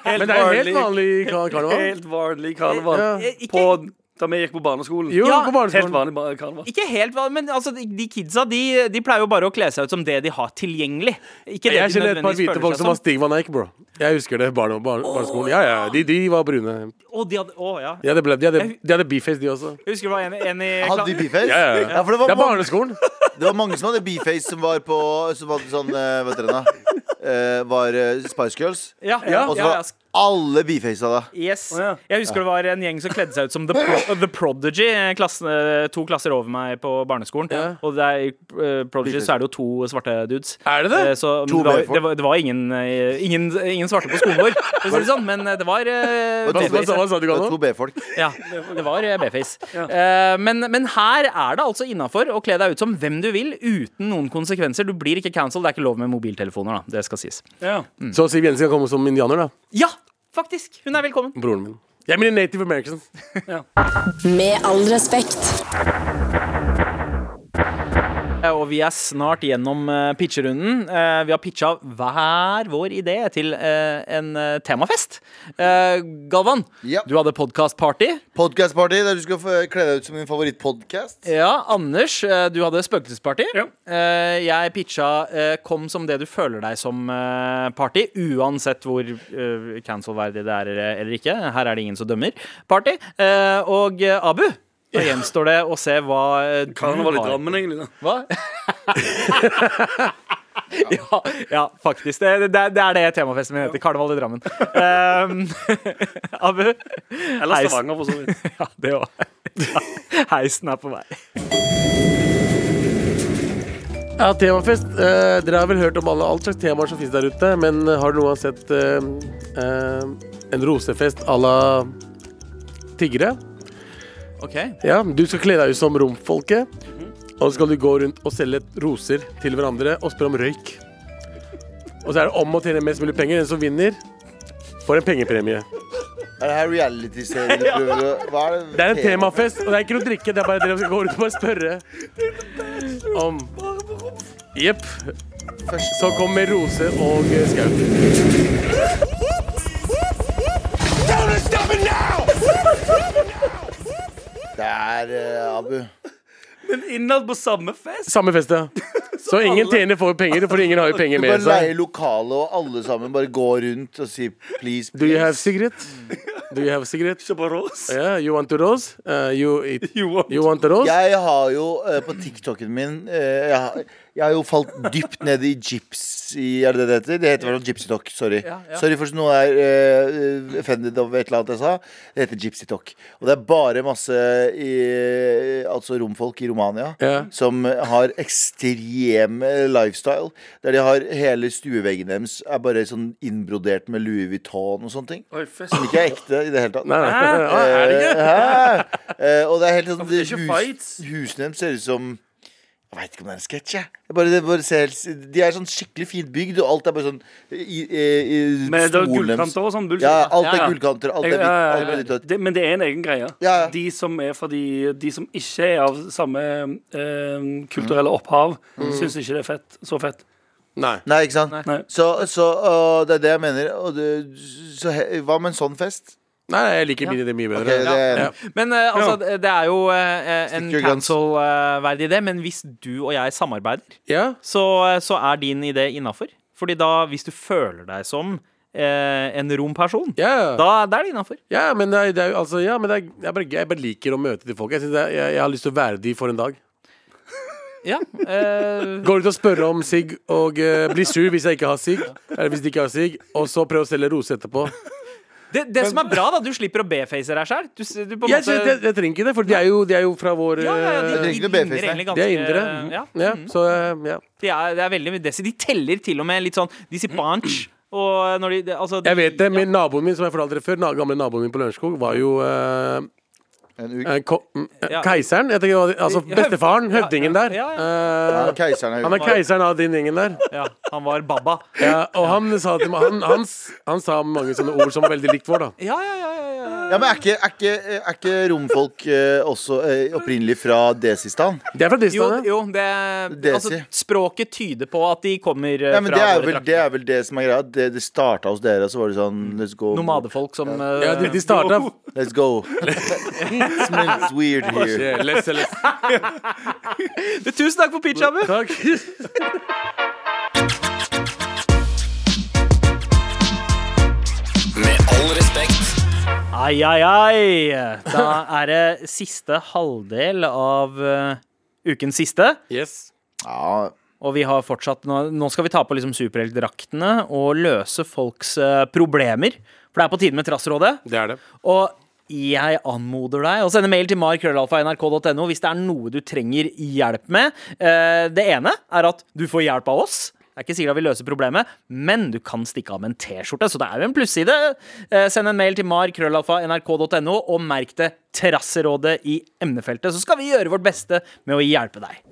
Speaker 4: Men det er jo helt vanlig kar- karneval.
Speaker 2: Helt vanlig karneval.
Speaker 4: Ja.
Speaker 3: Eh,
Speaker 2: På,
Speaker 3: Ikke,
Speaker 2: da vi gikk på barneskolen.
Speaker 4: Jo,
Speaker 3: Ja,
Speaker 4: på
Speaker 2: Helt
Speaker 4: barneskolen.
Speaker 2: vanlig bar- karneval.
Speaker 3: ikke helt vanlig, men altså, de de kidsa de, de pleier jo bare å kle seg ut som det de har tilgjengelig. Ikke det
Speaker 4: Jeg
Speaker 3: de
Speaker 4: kjenner et par
Speaker 3: nødvendigvis
Speaker 4: hvite folk
Speaker 3: føler
Speaker 4: som
Speaker 3: seg sånn.
Speaker 4: har
Speaker 3: som.
Speaker 4: Stig van Eijk, bro. Jeg husker det. Barne, barne, barneskolen. Ja, ja, de, de var brune.
Speaker 3: Å, de hadde, å, ja.
Speaker 4: De hadde, ble- de hadde, de hadde beeface, de også.
Speaker 3: Jeg husker det var en, en i
Speaker 1: Hadde de B-face?
Speaker 4: Ja, ja, ja.
Speaker 1: Ja, for det var,
Speaker 4: Det er
Speaker 1: mange,
Speaker 4: barneskolen.
Speaker 1: det var mange som hadde B-face som var på Som hadde sånn, eh, hva heter den da? Eh, var eh, Spice Girls.
Speaker 3: Ja, ja,
Speaker 1: Og så
Speaker 3: ja, ja.
Speaker 1: var alle B-face av det.
Speaker 3: Yes.
Speaker 2: ja.
Speaker 3: Jeg husker det var en gjeng som kledde seg ut som The, Pro The Prodigy. Klassen, eh, to klasser over meg på barneskolen. Og det er, i, eh, Prodigy så er det jo to svarte dudes.
Speaker 4: Er det det?
Speaker 3: Eh, Så, men
Speaker 1: To
Speaker 3: det,
Speaker 1: B-folk.
Speaker 3: var, det, var, det var ingen, eh, ingen, ingen svarte på skolen vår, for å si det sånn, men eh, det var eh,
Speaker 1: Hva-
Speaker 4: Hva, hva,
Speaker 3: B-face.
Speaker 4: hva sa du,
Speaker 1: Det var
Speaker 4: Galvan?
Speaker 1: to B-folk.
Speaker 3: Ja, det var eh, B-face. Eh, Men, men her er det altså innafor å kle deg ut som hvem du vil, uten noen konsekvenser. Du blir ikke cancelled. Det er ikke lov med mobiltelefoner, da. Det skal sies.
Speaker 2: Ja.
Speaker 3: Hmm.
Speaker 4: Så Siv Jensen kan komme som indianer, da.
Speaker 3: Ja, faktisk! Hun er velkommen.
Speaker 4: Broren min. Jeg mener native american.
Speaker 5: Med all respekt.
Speaker 3: Eh, Og vi er snart gjennom eh, pitcherunden. Eh, Vi har pitcha hver vår idé til eh, en eh, temafest. Eh, Galvan,
Speaker 1: Ja.
Speaker 3: du hadde podcastparty
Speaker 1: Podcastparty der du skal få kle deg ut som din favorittpodkast.
Speaker 3: Ja, Anders, eh, du hadde spøkelsesparty.
Speaker 2: Ja.
Speaker 3: Eh, Jeg pitcha eh, Kom som det du føler deg som eh, party, uansett hvor eh, cancel-verdig det er eh, eller ikke. Her er det ingen som dømmer. Party. Eh, Og eh, Abu, da gjenstår det å se hva eh, du
Speaker 2: Karneval i
Speaker 3: har.
Speaker 2: Drammen, egentlig. Da.
Speaker 3: Hva? ja, ja, faktisk. Det, det, det er det temafesten min heter. Karneval i Drammen. Um, Abu?
Speaker 2: Eller
Speaker 3: Heis.
Speaker 2: Stavanger, for så vidt.
Speaker 3: Ja, det òg. Ja, heisen er på vei.
Speaker 4: Ja, temafest. Eh, dere har vel hørt om alle, all slags temaer som finnes der ute, men eh, har noen gang sett eh, eh, en rosefest à la tiggere?
Speaker 3: OK.
Speaker 4: Ja, du skal kle deg ut som romfolket.
Speaker 1: Mhm.
Speaker 4: Og så skal du gå rundt og selge roser til hverandre og spørre om røyk. Og så er det om å tjene mest mulig penger. Den som vinner, får en pengepremie.
Speaker 1: Er det her reality-serien du prøver å Hva er det?
Speaker 4: Det er en temafest, og det er ikke noe drikke. Det er bare dere som går rundt og bare spørre om Jepp. Så kommer roser og eh, skau.
Speaker 1: Det er eh, Abu.
Speaker 2: Men innad på samme fest!
Speaker 4: Samme fest, ja. Så ingen tjener får penger, for ingen har jo penger
Speaker 1: Du
Speaker 4: med
Speaker 1: bare leier
Speaker 4: seg.
Speaker 1: lokalet, og alle sammen bare går rundt og sier please,
Speaker 4: Do you have
Speaker 1: please.
Speaker 4: cigarette? Do you have cigarette?
Speaker 2: Ikke på Rås.
Speaker 4: Yeah, you want a rose? Uh, you, eat,
Speaker 2: You want-
Speaker 4: you want a rose?
Speaker 1: Jeg har jo eh, på TikToken min eh, jeg, har, jeg har jo falt dypt ned i gypsy Er det det det heter? Det heter vel gypsy talk. Sorry. Sorry for at noen er eh, offended over et eller annet jeg sa. Det heter gypsy talk. Og det er bare masse i, altså romfolk i Romania
Speaker 4: Ja.
Speaker 1: som har ekstrem eh, lifestyle. Der de har hele stueveggen deres er bare sånn innbrodert med Louis Vuitton og sånne ting.
Speaker 2: Oi, fest.
Speaker 1: Ikke er ekte i det hele tatt.
Speaker 4: Nei, nei. Ah, er det ikke?
Speaker 1: Hæ? Eh, og det er helt sånn
Speaker 2: det er ikke
Speaker 1: hus,
Speaker 2: fights.
Speaker 1: Husene deres ser ut som Jeg veit ikke om det er en sketsj, jeg. Det er Bare, det bare ser helt, de er sånn skikkelig fint bygd, og alt er bare sånn i, i, i
Speaker 2: Med det
Speaker 1: stolen
Speaker 2: er
Speaker 1: deres-
Speaker 2: gullkanter og sånn bullshit.
Speaker 1: Ja, alt
Speaker 2: Ja,
Speaker 1: er
Speaker 2: ja.
Speaker 1: gullkanter. Alt er
Speaker 2: Jeg-
Speaker 1: hvitt.
Speaker 2: ja, ja,
Speaker 1: Alt er
Speaker 2: ja.
Speaker 1: litt rødt.
Speaker 2: det, men det er en egen greie.
Speaker 1: Ja, ja.
Speaker 2: De som er fra de, de som ikke er av samme eh, kulturelle opphav,
Speaker 1: Mm.
Speaker 2: syns ikke det er fett, så fett.
Speaker 4: Nei.
Speaker 1: Nei, ikke sant?
Speaker 2: Nei.
Speaker 1: Så, så øh, det er det jeg mener. Og det, så he, hva med en sånn fest?
Speaker 4: Nei, nei, jeg liker mine ideer mye bedre.
Speaker 1: Ok, det er
Speaker 4: ja.
Speaker 1: enig.
Speaker 3: Men eh, altså, det- det er jo eh, en
Speaker 1: Stikker jo grens.
Speaker 3: cancel-verdig idé, men hvis du og jeg samarbeider,
Speaker 4: Ja.
Speaker 3: så, eh, så er din idé innafor. Fordi da, hvis du føler deg som eh, en rom person,
Speaker 4: Ja.
Speaker 3: da, da er det innafor.
Speaker 4: ja, men det er, det er jo altså Ja, men det er, jeg, bare, jeg bare liker å møte de folk. Jeg, synes det er- jeg, jeg har lyst til å være de for en dag.
Speaker 3: Ja. eh,
Speaker 4: Går ut og spør om sigg og eh, blir sur hvis jeg ikke har sigg. Eller hvis de ikke har sigg. Og så prøve å selge roser etterpå.
Speaker 3: det, det som er bra, da, du slipper å beface deg sjøl. Du, s- du på en
Speaker 4: Jeg,
Speaker 3: måte
Speaker 4: jeg, jeg, jeg trenger ikke det, for de er jo, de er jo fra vår
Speaker 3: ja, ja, ja, de,
Speaker 4: eh,
Speaker 3: de,
Speaker 1: trenger ikke å
Speaker 3: ligner
Speaker 1: beface deg.
Speaker 3: egentlig ganske- Mm.
Speaker 4: De er indere.
Speaker 3: Ja, Mhm.
Speaker 4: Ja, så eh, ja.
Speaker 3: de er, det er veldig desi. De teller til og med litt sånn De sier bunch. Og når de, det- altså, de
Speaker 4: Jeg vet det.
Speaker 3: ja.
Speaker 4: Min naboen min, som jeg fortalte dere før, na- gamle naboen min på Lørenskog, var jo eh,
Speaker 1: En uk-
Speaker 4: eh, ko mm, eh,
Speaker 3: Ja.
Speaker 4: Keiseren? Jeg tenker, hva- altså
Speaker 3: Ja,
Speaker 4: bestefaren. Høvdingen der.
Speaker 3: ja,
Speaker 4: Eh,
Speaker 1: Ja, Keiseren er
Speaker 4: han er
Speaker 1: ute.
Speaker 4: keiseren av den gjengen der.
Speaker 3: ja, han var baba.
Speaker 4: Ja, og han sa, til meg, han, han, s- han sa mange sånne ord som var veldig likt vår, da.
Speaker 3: Ja, ja, ja, ja, ja.
Speaker 1: Ja, men er ikke, er ikke, er ikke romfolk eh, også eh, opprinnelig fra Desistan?
Speaker 4: Det er fra
Speaker 3: Jo,
Speaker 4: Disney.
Speaker 3: jo det,
Speaker 1: Desi.
Speaker 3: altså, språket tyder på at de kommer eh,
Speaker 1: Ja, men
Speaker 3: fra
Speaker 1: det er,
Speaker 3: våre
Speaker 1: vel, det
Speaker 3: trakter.
Speaker 1: er vel det som er greia. Det, det starta hos dere, og så var det sånn Let's go.
Speaker 3: Nomadefolk som eh,
Speaker 4: Ja, de, de starta
Speaker 1: Let's go. Smells weird here.
Speaker 4: yeah, less, less.
Speaker 3: Tusen takk for pitch, Abu!
Speaker 4: Takk.
Speaker 6: Med all respekt.
Speaker 3: Ai, ai, ai! Da er det siste halvdel av eh, ukens siste.
Speaker 4: Yes.
Speaker 1: Ja,
Speaker 3: Og vi har fortsatt Nå, nå skal vi ta på liksom superheltdraktene og løse folks eh, problemer. For det er på tide med Trassrådet.
Speaker 4: Det er det.
Speaker 3: Og jeg anmoder deg å sende mail til markrøllalfa.nrk.no hvis det er noe du trenger hjelp med. Eh, Det ene er at du får hjelp av oss. Det er ikke sikkert at vi løser problemet, men du kan stikke av med en T-skjorte, så det er jo en plusside. Eh, Send en mail til markrøllalfa.nrk.no og merk det Trasserådet i emnefeltet, så skal vi gjøre vårt beste med å hjelpe deg.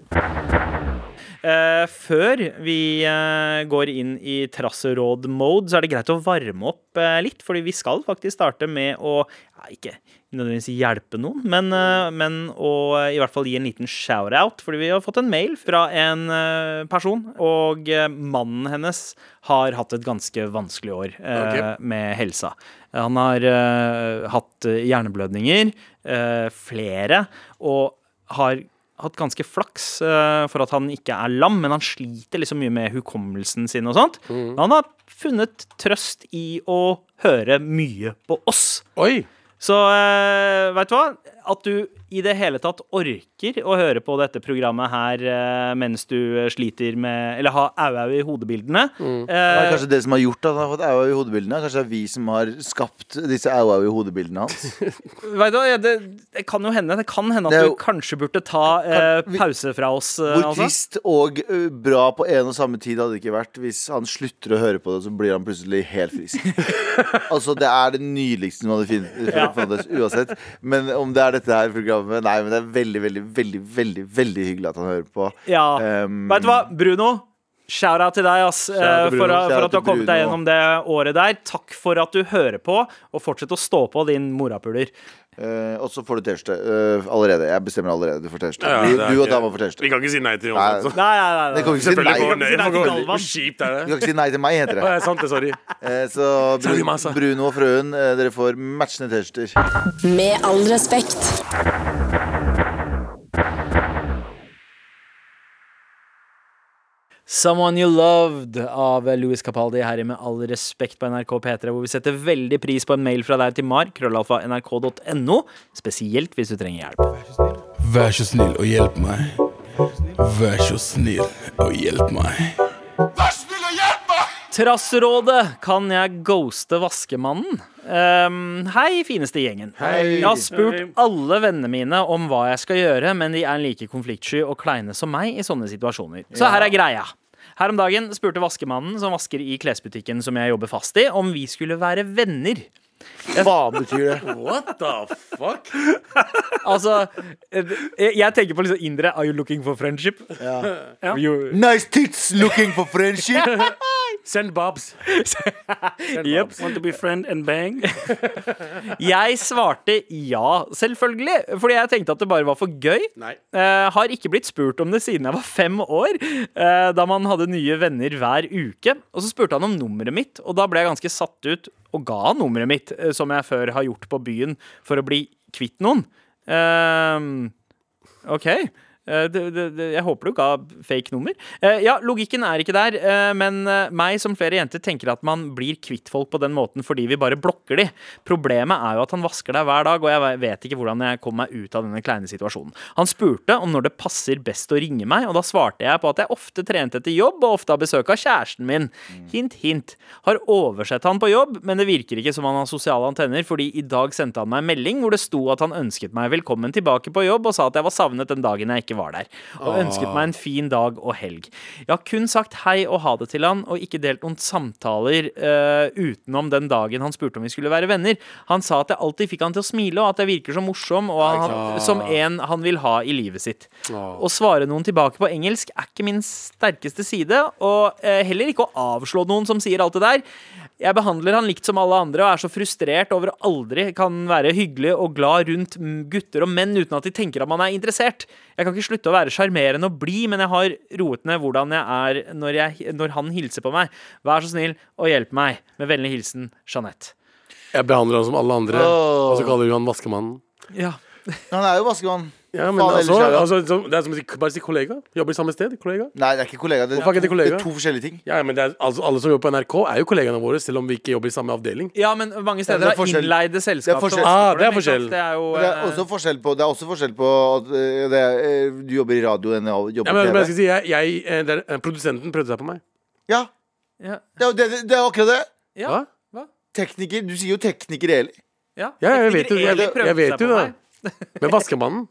Speaker 3: Eh, før vi eh, går inn i trasseråd-mode, så er det greit å varme opp eh, litt. Fordi vi skal faktisk starte med å ja, ikke nødvendigvis hjelpe noen, men, eh, men å eh, i hvert fall gi en liten shout-out. Fordi vi har fått en mail fra en eh, person, og eh, mannen hennes har hatt et ganske vanskelig år eh,
Speaker 4: Ok.
Speaker 3: med helsa. Han har eh, hatt eh, hjerneblødninger, eh, flere, og har hatt ganske flaks eh, for at han ikke er lam, men han sliter liksom mye med hukommelsen sin og sånt.
Speaker 1: Mm.
Speaker 3: Men han har funnet trøst i å høre mye på oss.
Speaker 4: Oi!
Speaker 3: Så uh, veit du hva? At du i det hele tatt orker å høre på dette programmet her eh, mens du sliter med Eller har au-au i hodebildene.
Speaker 1: det
Speaker 3: eh,
Speaker 1: er kanskje det som har gjort at han har fått au-au i hodebildene. Kanskje det er vi som har skapt disse au-au i hodebildene hans.
Speaker 3: Vet du hva, ja, det, det kan jo hende Det kan hende
Speaker 1: Det
Speaker 3: at
Speaker 1: er
Speaker 3: du
Speaker 1: jo-
Speaker 3: kanskje burde ta eh, pause fra oss. eh,
Speaker 1: Hvor
Speaker 3: altså.
Speaker 1: trist og ø, bra på en og samme tid hadde det ikke vært hvis han slutter å høre på det, så blir han plutselig helt frisk. altså, det er det nydeligste man hadde funnet funnet uansett. Men om det er dette her programmet Nei, men det er veldig, veldig, veldig veldig, veldig hyggelig at han hører på.
Speaker 3: Ja.
Speaker 1: Ehm,
Speaker 3: Vet du hva, Bruno? Shout-out til deg ass, eh,
Speaker 4: Shout-out til
Speaker 3: for, for at du
Speaker 4: Bruno.
Speaker 3: har
Speaker 1: Shout-out til
Speaker 3: kommet deg
Speaker 1: Bruno.
Speaker 3: gjennom det året der. Takk for at du hører på, og fortsett å stå på, din morapuler.
Speaker 1: eh, og så får du T-skjorte eh, allerede. Jeg bestemmer allerede. Du får T-skjorte.
Speaker 4: Ja,
Speaker 1: du,
Speaker 4: det er
Speaker 1: du og
Speaker 4: ikke-
Speaker 1: dama får
Speaker 4: Vi
Speaker 1: T-skjorte.
Speaker 4: kan ikke si nei til
Speaker 1: Nei,
Speaker 4: Jonas. altså.
Speaker 3: Nei, nei, nei.
Speaker 1: Det
Speaker 3: nei.
Speaker 1: kan vi ikke si nei
Speaker 4: Selvfølgelig får
Speaker 1: til.
Speaker 4: nei.
Speaker 3: Nei, til
Speaker 4: Hvor-
Speaker 3: Galvan.
Speaker 4: Hvor kjipt er
Speaker 1: Du
Speaker 4: det?
Speaker 1: kan ikke si nei til meg, heter
Speaker 4: Å,
Speaker 1: det.
Speaker 4: ja, sant det. Sorry.
Speaker 1: Eh, Så
Speaker 4: Sorry,
Speaker 1: Bruno,
Speaker 4: massa.
Speaker 1: Bruno og frøen, eh, dere får matchende T-skjorter.
Speaker 5: Med all respekt.
Speaker 3: Someone You Loved av eh, Louis Capaldi her i Med all respekt på NRK P3, hvor vi setter veldig pris på en mail fra deg til mar, krøllalfa nrk.no, spesielt hvis du trenger hjelp.
Speaker 7: Vær så snill og hjelp meg. Vær så snill og hjelp meg.
Speaker 3: Trassrådet kan jeg ghoste vaskemannen? Ehm, hei, fineste gjengen. Jeg har spurt
Speaker 2: Hei.
Speaker 3: alle vennene mine om hva jeg skal gjøre, men de er like konfliktsky og kleine som meg i sånne situasjoner. Så her er greia. Her om dagen spurte vaskemannen som vasker i klesbutikken som jeg jobber fast i, om vi skulle være venner.
Speaker 1: Hva betyr det?
Speaker 4: What the fuck?
Speaker 3: Altså, eh, jeg jeg tenker på liksom indre Are you looking for friendship?
Speaker 1: Nice tits looking for friendship!
Speaker 4: Send Bobs. Send
Speaker 3: Yep.
Speaker 4: Bobs.
Speaker 2: Want to be friend and bang?
Speaker 3: Jeg svarte ja, selvfølgelig, fordi jeg tenkte at det bare var for gøy.
Speaker 4: Nei.
Speaker 3: Eh, har ikke blitt spurt om det siden jeg var fem år, eh, da man hadde nye venner hver uke. Og så spurte han om nummeret mitt, og da ble jeg ganske satt ut og ga han nummeret mitt, eh, som jeg før har gjort på byen for å bli kvitt noen. Eh, OK. Eh, det- det- det- Jeg håper du ga fake nummer. Eh, Ja, logikken er ikke der, eh, men eh, meg som flere jenter tenker at man blir kvitt folk på den måten fordi vi bare blokker de. Problemet er jo at han vasker deg hver dag, og jeg vet ikke hvordan jeg kom meg ut av denne kleine situasjonen. Han spurte om når det passer best å ringe meg, og da svarte jeg på at jeg ofte trente etter jobb og ofte har besøk av kjæresten min. Hint, hint. Har oversett han på jobb, men det virker ikke som han har sosiale antenner, fordi i dag sendte han meg en melding hvor det sto at han ønsket meg velkommen tilbake på jobb og sa at jeg var savnet den dagen jeg ikke var der, og ønsket meg en fin dag og helg. Jeg har kun sagt hei og ha det til han, og ikke delt noen samtaler eh, utenom den dagen han spurte om vi skulle være venner. Han sa at jeg alltid fikk han til å smile, og at jeg virker så morsom, og han, som en han vil ha i livet sitt. Å svare noen tilbake på engelsk er ikke min sterkeste side, og eh, heller ikke å avslå noen som sier alt det der. Jeg behandler han likt som alle andre og er så frustrert over å aldri kan være hyggelig og glad rundt mm, gutter og menn uten at de tenker at man er interessert. Jeg kan ikke slutte å være sjarmerende og blid, men jeg har roet ned hvordan jeg er når, jeg, når han hilser på meg. Vær så snill og hjelp meg. Med vennlig hilsen Jeanette.
Speaker 4: Jeg behandler han som alle andre, og så kaller du han vaskemannen.
Speaker 3: Ja.
Speaker 1: Han er jo vaskemann.
Speaker 4: Ja, men
Speaker 1: Faen,
Speaker 4: altså,
Speaker 1: ellers er det-
Speaker 4: altså, så- det er som å si, bare si kollega. Jobber i samme sted. kollega
Speaker 1: Nei, det er ikke kollega. Det,
Speaker 4: Hvorfor er ikke det kollega?
Speaker 1: det er to forskjellige ting.
Speaker 4: ja, ja, men det er, altså, Alle som jobber på NRK, er jo kollegaene våre, selv om vi ikke jobber i samme avdeling.
Speaker 3: ja, men mange
Speaker 1: Ja, det er
Speaker 3: steder har
Speaker 1: forskjell.
Speaker 3: innleide selskap. som
Speaker 1: forskjell.
Speaker 4: Ah, det er
Speaker 3: vasker for dem, ikke sant?
Speaker 4: forskjell.
Speaker 3: Det er jo,
Speaker 1: Men det er
Speaker 3: eh,
Speaker 1: også forskjell på, det er også forskjell på at eh, det er, eh, du jobber i radio enn jeg
Speaker 4: Ja,
Speaker 1: jobber
Speaker 4: men, men
Speaker 1: på
Speaker 4: jeg skal
Speaker 1: TV.
Speaker 4: si, jeg, jeg, eh, det er, eh, Produsenten prøvde seg på meg.
Speaker 1: Ja,
Speaker 3: eh, ja.
Speaker 1: det er, jo det, det er akkurat det.
Speaker 3: Ja.
Speaker 4: Hva?
Speaker 1: Tekniker. Du sier jo tekniker, Eli.
Speaker 3: Ja,
Speaker 4: Ja, jeg vet
Speaker 3: Tekniker
Speaker 4: jo-
Speaker 3: Eli
Speaker 4: jeg-
Speaker 3: prøvde
Speaker 4: jeg vet
Speaker 3: seg
Speaker 4: jo
Speaker 3: på
Speaker 4: det.
Speaker 3: meg.
Speaker 4: Men vaskemannen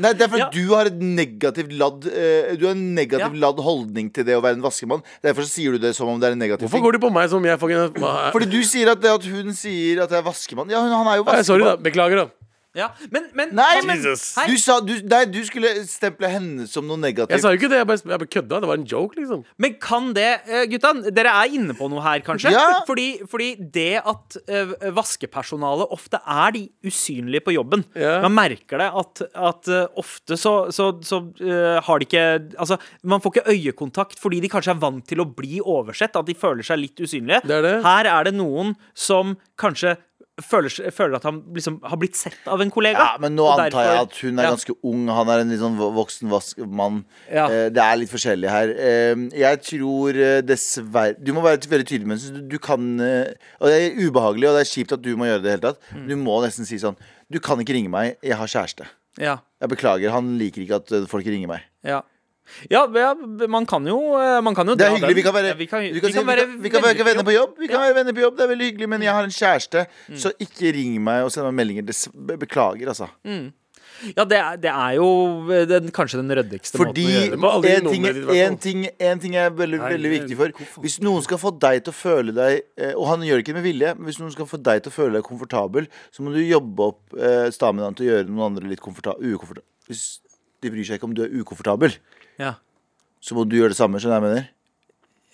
Speaker 1: Nei, det er fordi
Speaker 3: Ja.
Speaker 1: du har et negativt ladd eh, Du har en negativ ladd holdning til det å være en vaskemann. Derfor så sier du det som om det er en negativ
Speaker 4: Hvorfor går du på meg som om jeg fucking hva-
Speaker 1: Fordi du sier at det at hun sier at jeg er vaskemann Ja, hun, han er jo
Speaker 4: Nei,
Speaker 1: vaskemann.
Speaker 4: Sorry, da. Beklager, da.
Speaker 3: Ja, men, men
Speaker 1: Nei, men
Speaker 4: Jesus.
Speaker 1: du, sa, du, nei, du skulle stemple henne som noe
Speaker 4: Jeg
Speaker 1: negativt.
Speaker 4: sa jo ikke det. Jeg bare, jeg bare kødda. Det var en joke, liksom.
Speaker 3: Men kan det eh, Gutta, dere er inne på noe her, kanskje?
Speaker 1: Ja.
Speaker 3: Fordi, fordi det at eh, vaskepersonalet ofte er de usynlige på jobben
Speaker 4: Ja.
Speaker 3: Man merker det at, at eh, ofte så, så, så eh, har de ikke Altså, man får ikke øyekontakt fordi de kanskje er vant til å bli oversett. At de føler seg litt usynlige.
Speaker 4: Det er det.
Speaker 3: Her er det noen som kanskje føler, seg- føler at han liksom har blitt sett av en kollega.
Speaker 1: Ja, men nå
Speaker 3: og
Speaker 1: antar jeg
Speaker 3: derfor-
Speaker 1: at hun er
Speaker 3: Ja.
Speaker 1: ganske ung. Han er en litt sånn vo- voksen vaskemann.
Speaker 3: Ja.
Speaker 1: Eh, det er litt forskjellig her. Eh, jeg tror eh, dessverre Du må være veldig tydelig, men du, du kan eh, Og det er ubehagelig, og det er kjipt at du må gjøre det i det hele tatt.
Speaker 3: Mm.
Speaker 1: Du må nesten si sånn Du kan ikke ringe meg. Jeg har kjæreste.
Speaker 3: ja.
Speaker 1: Jeg beklager. Han liker ikke at eh, folk ringer meg.
Speaker 3: Ja. Ja, ja, man kan jo eh, Man kan jo
Speaker 1: Det
Speaker 3: dra
Speaker 1: er hyggelig.
Speaker 3: den.
Speaker 1: Vi kan være,
Speaker 3: ja, vi kan,
Speaker 1: du
Speaker 3: vi
Speaker 1: kan
Speaker 3: kan
Speaker 1: si, vi
Speaker 3: være
Speaker 1: kan- vi kan være venner på jobb. Vi kan
Speaker 3: Ja. Mm.
Speaker 1: være venner på jobb, Det er veldig hyggelig, men jeg har en kjæreste, så ikke ring meg og send meg meldinger. Dess- be- Beklager, altså.
Speaker 3: Ja, det er, det er jo eh, den, kanskje den røddigste
Speaker 1: Fordi
Speaker 3: måten å gjøre det
Speaker 4: må aldri
Speaker 1: en ting,
Speaker 4: nummeret ditt, i hvert fall.
Speaker 1: en, ting, en ting er veldig,
Speaker 4: Nei,
Speaker 1: veldig
Speaker 4: det-
Speaker 1: viktig for Hvis noen skal få deg til å føle deg eh, Og han gjør det ikke med vilje Men hvis noen skal få deg til å føle deg komfortabel Så må du jobbe opp eh, staminaen til å gjøre noen andre litt komforta- ukomfortabel Hvis de bryr seg ikke om du er ukomfortabel
Speaker 3: Ja.
Speaker 1: Så må du gjøre det samme, skjønner jeg hva jeg mener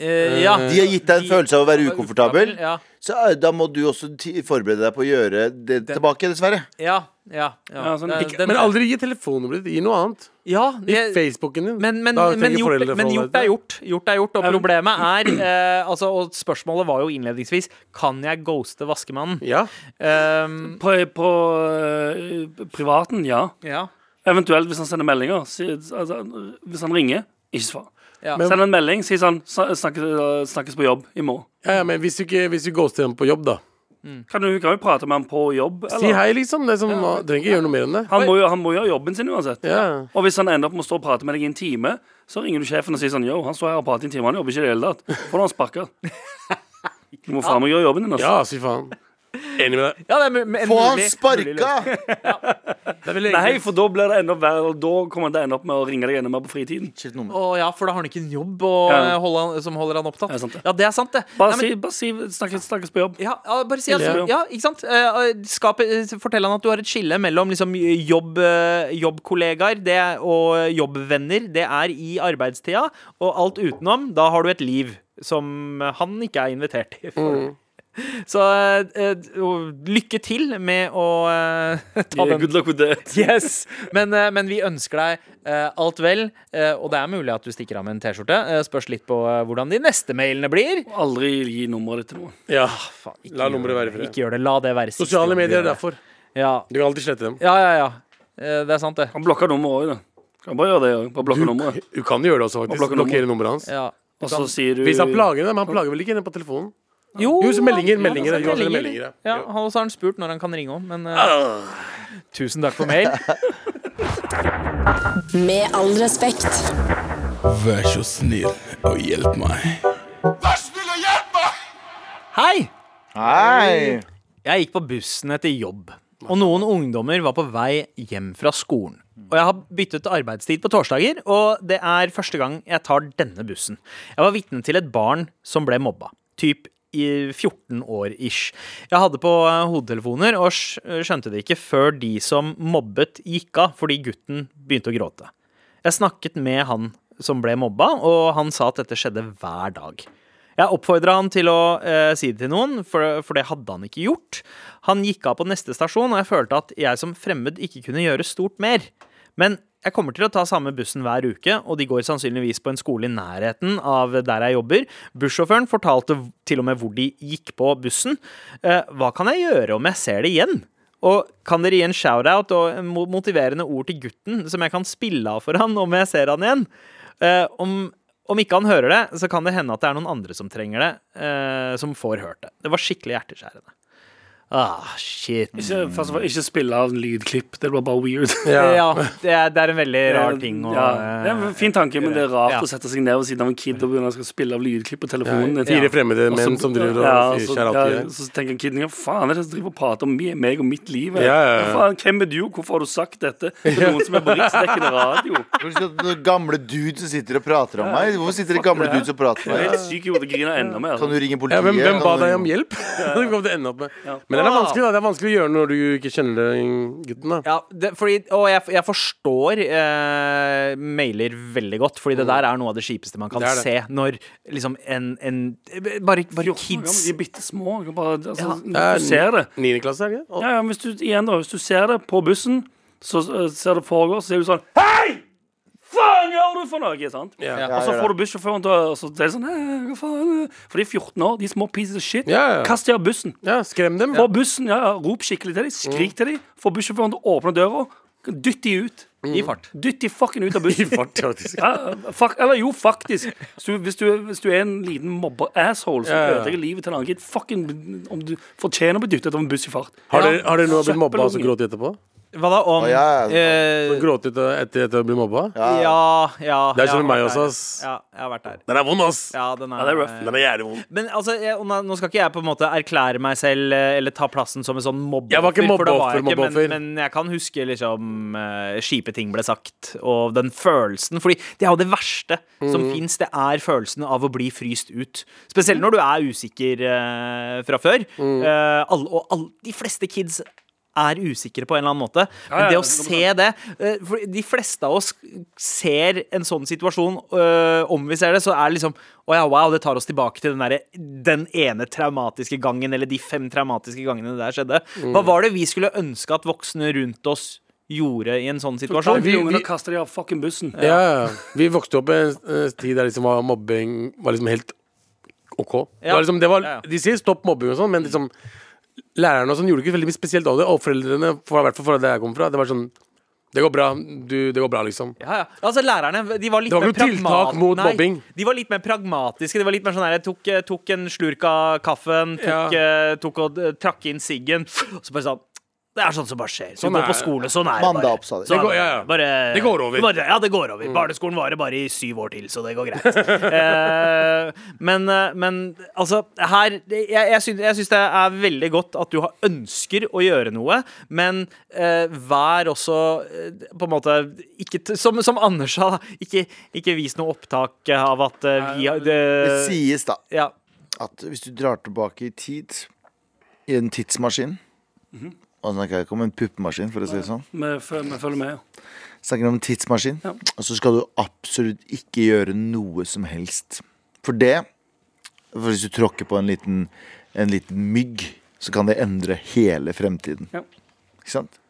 Speaker 3: Eh, ja.
Speaker 1: De har gitt deg en følelse av å være ukomfortabel
Speaker 3: Ja,
Speaker 1: Så eh, da må du også ti- forberede deg på å gjøre det tilbake, dessverre
Speaker 3: ja, ja, ja.
Speaker 2: Ja, sånn,
Speaker 3: Den-
Speaker 2: ikke-
Speaker 3: den-
Speaker 4: Men aldri gi telefonnummeret ditt. Gi noe annet.
Speaker 3: ja, jeg-
Speaker 4: Facebooken din.
Speaker 3: men, men,
Speaker 4: Da trenger
Speaker 3: men, gjort,
Speaker 4: foreldre
Speaker 3: men
Speaker 4: forholde
Speaker 3: gjort
Speaker 4: seg
Speaker 3: er
Speaker 4: til det.
Speaker 3: gjort. Gjort er gjort, og problemet er eh, altså, Og spørsmålet var jo innledningsvis Kan jeg ghoste vaskemannen.
Speaker 4: Ja.
Speaker 3: Um,
Speaker 2: På, på eh, privaten, ja.
Speaker 3: ja.
Speaker 2: Eventuelt hvis han sender meldinger. Si, altså, hvis han ringer, ikke svar.
Speaker 3: Ja.
Speaker 2: Send en melding, si sånn sn- snakkes, snakkes på jobb i morgen.
Speaker 4: Ja, ja, men hvis du, ikke, hvis du ghoster dem på jobb, da.
Speaker 2: Kan du kan jo prate med han på jobb.
Speaker 4: Si
Speaker 2: Eller?
Speaker 4: hei, liksom. Det er som, man trenger ikke gjøre noe mer enn det.
Speaker 2: Han må, jo, han må jo ha jobben sin uansett.
Speaker 4: Ja.
Speaker 2: Og hvis han ender opp med å stå og prate med deg i en time, så ringer du sjefen og sier sånn Yo, han står her og prater i en time, han jobber ikke i det hele tatt. Får du han sparka? Du må faen meg gjøre jobben din,
Speaker 4: ja,
Speaker 2: altså.
Speaker 4: si faen. Enig med deg.
Speaker 3: ja, det er mu- en
Speaker 1: Få han
Speaker 3: mulig- mulig
Speaker 1: sparka!
Speaker 3: løsning.
Speaker 2: Nei, for da blir det enda verre, og da kommer det enda opp med å ringe deg enda mer på fritiden.
Speaker 1: Shit, nummer.
Speaker 3: Å ja, for da har han ikke en jobb å, eh,
Speaker 2: Ja.
Speaker 3: holde han, som holder han opptatt.
Speaker 2: Det er sant, det.
Speaker 3: Ja, det er sant, det.
Speaker 2: Bare
Speaker 3: Nei, men-
Speaker 2: si, bare si snakkes, snakkes på jobb.
Speaker 3: ja, ja, bare si at,
Speaker 2: Skille,
Speaker 3: ja, ikke sant? Eh, Skap, eh, fortell han at du har et skille mellom liksom, jobb, eh, jobbkollegaer det, og jobbvenner. Det er i arbeidstida, og alt utenom, da har du et liv. som han ikke er invitert til. For. Så eh, og lykke til med å eh, ta
Speaker 2: Yeah,
Speaker 3: den
Speaker 2: good luck with that.
Speaker 3: Yes! Men, eh, men vi ønsker deg eh, alt vel, eh, og det er mulig at du stikker av med en T-skjorte. Eh, Spørs litt på eh, hvordan de neste mailene blir.
Speaker 2: Aldri gi nummeret ditt til noen.
Speaker 4: Ja.
Speaker 3: Ah, Faen, ikke
Speaker 4: La
Speaker 3: gjør
Speaker 4: nummeret være i fred.
Speaker 3: Ikke gjør det. La det være siste
Speaker 4: Sosiale
Speaker 3: gang du
Speaker 4: medier
Speaker 3: gjør
Speaker 4: er
Speaker 3: det.
Speaker 4: derfor.
Speaker 3: Ja,
Speaker 4: Du kan alltid slette dem.
Speaker 3: ja, ja. ja. Eh, Det er sant, det.
Speaker 2: Han blokker nummeret òg, da. Kan bare gjøre det òg. Bare blokke nummeret.
Speaker 4: Du kan gjøre det også,
Speaker 2: Og blokke
Speaker 4: faktisk.
Speaker 2: nummer.
Speaker 4: Blokkere nummeret hans.
Speaker 3: Ja.
Speaker 2: Og så sier du
Speaker 4: Hvis han plager dem, men han plager vel ikke henne på telefonen? Jo, så meldinger,
Speaker 3: han-
Speaker 4: meldinger,
Speaker 3: han
Speaker 4: jo,
Speaker 3: sender
Speaker 4: det er meldinger, ja. Ah.
Speaker 3: Ja, han også har han spurt når han kan ringe om, men eh, Tusen takk for mail.
Speaker 5: Med all respekt.
Speaker 7: Vær så snill og hjelp meg.
Speaker 3: Hei!
Speaker 1: Hei!
Speaker 3: Jeg gikk på bussen etter jobb, og noen ungdommer var på vei hjem fra skolen. Og jeg har byttet arbeidstid på torsdager, og det er første gang jeg tar denne bussen. Jeg var vitne til et barn som ble mobba. Typ i 14 år ish. Jeg hadde på eh, hodetelefoner og skj- skjønte det ikke før de som mobbet, gikk av fordi gutten begynte å gråte. Jeg snakket med han som ble mobba, og han sa at dette skjedde hver dag. Jeg oppfordra han til å eh, si det til noen, for, for det hadde han ikke gjort. Han gikk av på neste stasjon, og jeg følte at jeg som fremmed ikke kunne gjøre stort mer. Men jeg kommer til å ta samme bussen hver uke, og de går sannsynligvis på en skole i nærheten av der jeg jobber. Bussjåføren fortalte v- til og med hvor de gikk på bussen. Eh, hva kan jeg gjøre om jeg ser det igjen? Og kan dere gi en shout-out og mo- motiverende ord til gutten, som jeg kan spille av for han om jeg ser han igjen? Eh, om, om ikke han hører det, så kan det hende at det er noen andre som trenger det, eh, som får hørt det. Det var skikkelig hjerteskjærende. Ah, shit.
Speaker 2: ikke, først og fremst, ikke spille av en lydklipp. Det blir bare weird.
Speaker 3: Ja, det, er, det er en veldig rar ting å
Speaker 2: ja,
Speaker 3: eh,
Speaker 2: det er en Fin tanke, men det er rart
Speaker 3: Ja.
Speaker 2: å sette seg ned ved siden av en kid og begynne å skal spille av lydklipp på telefonen.
Speaker 4: Ja, Fire fremmede
Speaker 2: Og så-
Speaker 4: menn som driver
Speaker 2: ja,
Speaker 4: og
Speaker 2: så,
Speaker 4: sier kjære
Speaker 2: ja,
Speaker 4: til deg.
Speaker 2: så tenker kiden ja, faen er det som driver og prater om me- meg og mitt liv? her?
Speaker 4: Ja, ja, ja.
Speaker 2: Hva Faen, hvem er du? Hvorfor har du sagt dette til noen som er på riksdekkende radio?
Speaker 1: Hvorfor skal det være gamle dude som sitter og prater om meg? Hvorfor sitter det gamle dude som prater
Speaker 2: Jeg
Speaker 1: om
Speaker 2: er
Speaker 1: meg?
Speaker 2: helt syk i hodet, griner enda mer.
Speaker 1: Kan du ringe
Speaker 4: Ja,
Speaker 1: politiet?
Speaker 4: hvem, hvem ba
Speaker 1: Kan du
Speaker 4: deg
Speaker 1: ringe-
Speaker 4: om hjelp? Det kom det ende opp med. Men
Speaker 2: Ah.
Speaker 4: det er vanskelig da, det er vanskelig å gjøre når du ikke kjenner den gutten. da
Speaker 3: Ja, det, fordi, og jeg, jeg forstår eh, mailer veldig godt, fordi det der er noe av Mm. det kjipeste man kan
Speaker 4: Det er det.
Speaker 3: se når liksom en, en Bare, bare kids.
Speaker 2: De er bitte små. du kan Bare, altså,
Speaker 4: Det er
Speaker 2: Du ser det.
Speaker 4: Niende klasse, er det ikke?
Speaker 2: Ja, ja, men hvis du, igjen da, hvis du ser det på bussen, så eh, ser det foregår, så sier du sånn Hei! Faen gjør du for noe? sant?
Speaker 4: Ja.
Speaker 1: Ja,
Speaker 2: Og så
Speaker 1: gjør
Speaker 2: får
Speaker 1: det.
Speaker 2: du bussjåføren til å og så er det sånn «Nei, hva faen? eh?» For de er 14 år, de er små pieces of shit.
Speaker 4: Ja, ja.
Speaker 2: Kast de av bussen.
Speaker 4: Ja, Mm. skrem dem.
Speaker 2: Få bussen, ja, ja, Rop skikkelig til dem, skrik til dem. Få bussjåføren til å åpne døra. Dytt de ut.
Speaker 4: Mm.
Speaker 3: I fart.
Speaker 2: Dytt de fucking ut av bussen.
Speaker 4: Fart, faktisk.
Speaker 2: Ja, fuck, eller jo, faktisk. Hvis du, hvis du, hvis du er en liten mobber-asshole som
Speaker 4: Ja, ja.
Speaker 2: ødelegger livet til en annen kid, fucking om du fortjener å bli dyttet ut av en buss i fart.
Speaker 4: Har dere, har dere noen blitt mobba og så
Speaker 2: Søppelunge.
Speaker 4: grått etterpå?
Speaker 3: Hva da om
Speaker 1: Å, ja, ja.
Speaker 3: eh,
Speaker 4: Grått ut etter etter å bli mobba?
Speaker 3: Ja, ja.
Speaker 4: Det er
Speaker 3: jeg
Speaker 4: sånn med
Speaker 3: har vært
Speaker 4: meg også,
Speaker 3: der.
Speaker 4: ass.
Speaker 3: Ja, jeg har vært der.
Speaker 4: Den er vond, ass!
Speaker 3: Ja, den er,
Speaker 2: Ja, det er rough.
Speaker 4: Den er jævlig vond.
Speaker 3: Men altså, jeg, nå nå skal ikke jeg på en måte erklære meg selv eh, eller ta plassen som en sånn mobbeoffer.
Speaker 4: Jeg var ikke
Speaker 3: for det var jeg
Speaker 4: mobbeoffer,
Speaker 3: ikke,
Speaker 4: mobbeoffer.
Speaker 3: Men, men jeg kan huske liksom eh, kjipe ting ble sagt, og den følelsen. Fordi det er jo det verste som
Speaker 1: Mm.
Speaker 3: fins. Det er følelsen av å bli fryst ut. Spesielt når du er usikker eh, fra før.
Speaker 1: Mm.
Speaker 3: Eh, alle, og alle, de fleste kids er usikre på en eller annen måte. Men
Speaker 2: ja,
Speaker 3: det å
Speaker 2: det kan du
Speaker 3: se det eh, For de fleste av oss ser en sånn situasjon, øh, om vi ser det, så er det liksom Å ja, wow, det tar oss tilbake til den, derre- den ene traumatiske gangen, eller de fem traumatiske gangene det der skjedde. Hva var det vi skulle ønske at voksne rundt oss gjorde i en sånn
Speaker 2: Ta
Speaker 3: situasjon?
Speaker 4: vi-
Speaker 2: de ungene
Speaker 4: vi-
Speaker 2: og kaste de av fucking bussen.
Speaker 4: Ja, ja. Vi vokste opp i en eh, tid der liksom var mobbing var liksom helt OK. Det
Speaker 3: Ja.
Speaker 4: var liksom, det var,
Speaker 3: Ja, ja.
Speaker 4: de sier stopp mobbing og sånn, men liksom lærerne og sånn gjorde ikke veldig mye spesielt av det. Og foreldrene, for, i hvert fall fra der jeg kom fra, det var sånn Det går bra, du, det går bra, liksom.
Speaker 3: Ja, ja. Altså, lærerne de var litt
Speaker 4: Det var
Speaker 3: mer
Speaker 4: ikke noe tiltak
Speaker 3: pragmat-
Speaker 4: mot
Speaker 3: Nei,
Speaker 4: mobbing.
Speaker 3: De var litt mer pragmatiske. De var litt mer sånn her, tok, eh, tok en slurk av kaffen,
Speaker 4: Ja.
Speaker 3: tok, eh, tok og eh, trakk inn siggen, og så bare sånn det er sånt som bare skjer. Så
Speaker 4: Sånn
Speaker 3: du går
Speaker 4: er
Speaker 3: på
Speaker 4: det.
Speaker 3: skole, sånn er det
Speaker 1: Mandag
Speaker 3: bare.
Speaker 1: opp, sa de.
Speaker 3: Sånn,
Speaker 4: Det går- ja, ja.
Speaker 3: Bare,
Speaker 4: Det går over.
Speaker 3: Bare, ja, det går over. Barneskolen varer bare i syv år til, så det går greit. eh, men, eh, men altså, her Jeg, jeg, syns, jeg syns det er veldig godt at du har ønsker å gjøre noe, men eh, vær også eh, på en måte ikke, t- som, som Anders sa, da, ikke, ikke vis noe opptak av at eh, vi har
Speaker 1: Det
Speaker 3: det-
Speaker 1: sies da
Speaker 3: ja.
Speaker 1: at hvis du drar tilbake i tid i en tidsmaskin
Speaker 4: Mhm.
Speaker 1: Og nå snakker jeg ikke om en puppemaskin, for å si det sånn.
Speaker 2: Vi føl- vi følger med.
Speaker 1: Snakker om en tidsmaskin.
Speaker 2: Ja.
Speaker 1: Og så skal du absolutt ikke gjøre noe som helst. For det For hvis du tråkker på en liten, en liten mygg, så kan det endre hele fremtiden.
Speaker 2: Ja.
Speaker 1: Ikke sant?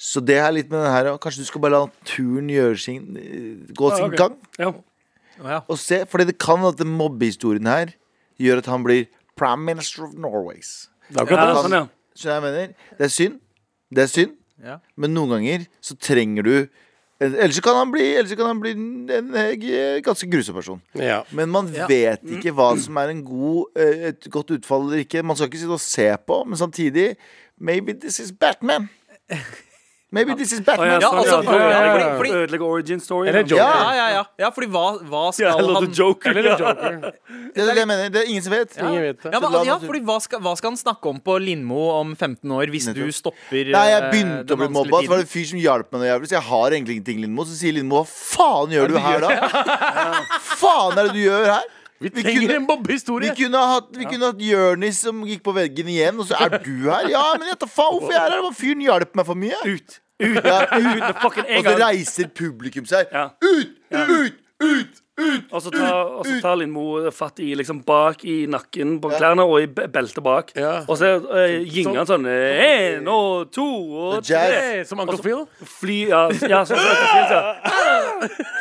Speaker 1: Så det er litt med den her og Kanskje du skal bare la naturen gjøre sin, eh, gå sin
Speaker 2: ok.
Speaker 1: gang?
Speaker 2: Ja.
Speaker 1: Og se, fordi det kan at den mobbehistorien her gjør at han blir prime minister of Norways.
Speaker 4: Det er
Speaker 2: Ja,
Speaker 4: akkurat det.
Speaker 2: sånn, ja.
Speaker 1: Skjønner du hva jeg mener? Det er synd. Det er synd.
Speaker 3: Ja.
Speaker 1: Men noen ganger så trenger du Ellers så kan han bli, ellers så kan han bli en eh, g- ganske grusom person.
Speaker 4: Ja.
Speaker 1: Men man vet ikke hva som er en god, eh, et godt utfall eller ikke. Man skal ikke sitte og se på, men samtidig Maybe this is Batman. Maybe this is
Speaker 2: Å, ja,
Speaker 1: Batman.
Speaker 3: Ja,
Speaker 2: sånn,
Speaker 3: altså,
Speaker 2: ja, ja, ja,
Speaker 3: fordi- fordi-
Speaker 2: Ødelegge origin story.
Speaker 4: Eller
Speaker 2: da.
Speaker 4: Joker.
Speaker 1: Ja.
Speaker 3: Ja, ja, ja. ja fordi hva, hva skal
Speaker 2: Ja, eller
Speaker 3: han
Speaker 2: The Joker.
Speaker 4: Eller Joker.
Speaker 1: Det er det jeg mener. Det er ingen som vet.
Speaker 4: Ingen vet det.
Speaker 3: ja, men,
Speaker 1: La
Speaker 3: ja,
Speaker 1: natur-
Speaker 3: fordi hva skal, hva skal han snakke om på Lindmo om 15 år, hvis du
Speaker 1: Nettopp.
Speaker 3: stopper
Speaker 1: Nei, jeg
Speaker 3: eh,
Speaker 1: begynte å
Speaker 3: den
Speaker 1: bli
Speaker 3: vanskelige
Speaker 1: mobba. Så var
Speaker 3: tiden?
Speaker 1: det en fyr som hjalp meg noe jævlig. Så jeg har egentlig ingenting, Lindmo. Så sier Lindmo, hva faen gjør du her da? Faen er det du gjør her?
Speaker 4: Vi
Speaker 1: Vi
Speaker 4: trenger
Speaker 1: kunne- Vi
Speaker 4: en mobbehistorie!
Speaker 1: kunne ha hatt, vi kunne hatt Jørnis som gikk på veggen igjen, og så er du her. Ja, men jeg tar faen hvorfor jeg er her. Hva fyren hjalp meg for mye.
Speaker 2: Ut. Ut.
Speaker 1: Ja, ut.
Speaker 2: Ut med fucking en
Speaker 1: Og så
Speaker 2: gang.
Speaker 1: reiser publikum seg.
Speaker 2: Ja.
Speaker 1: Ut! Ut! Ut! Ut!
Speaker 2: Og så tar, og så tar Lindmo fatt i liksom bak i nakken på klærne og i be- beltet bak.
Speaker 4: Ja.
Speaker 2: Og så eh, gynger han sånn Én og to og tre.
Speaker 1: Jazz.
Speaker 4: Hey, Som Uncle Phil.
Speaker 2: Fly Ja, ja sånn som dette finnes, ja.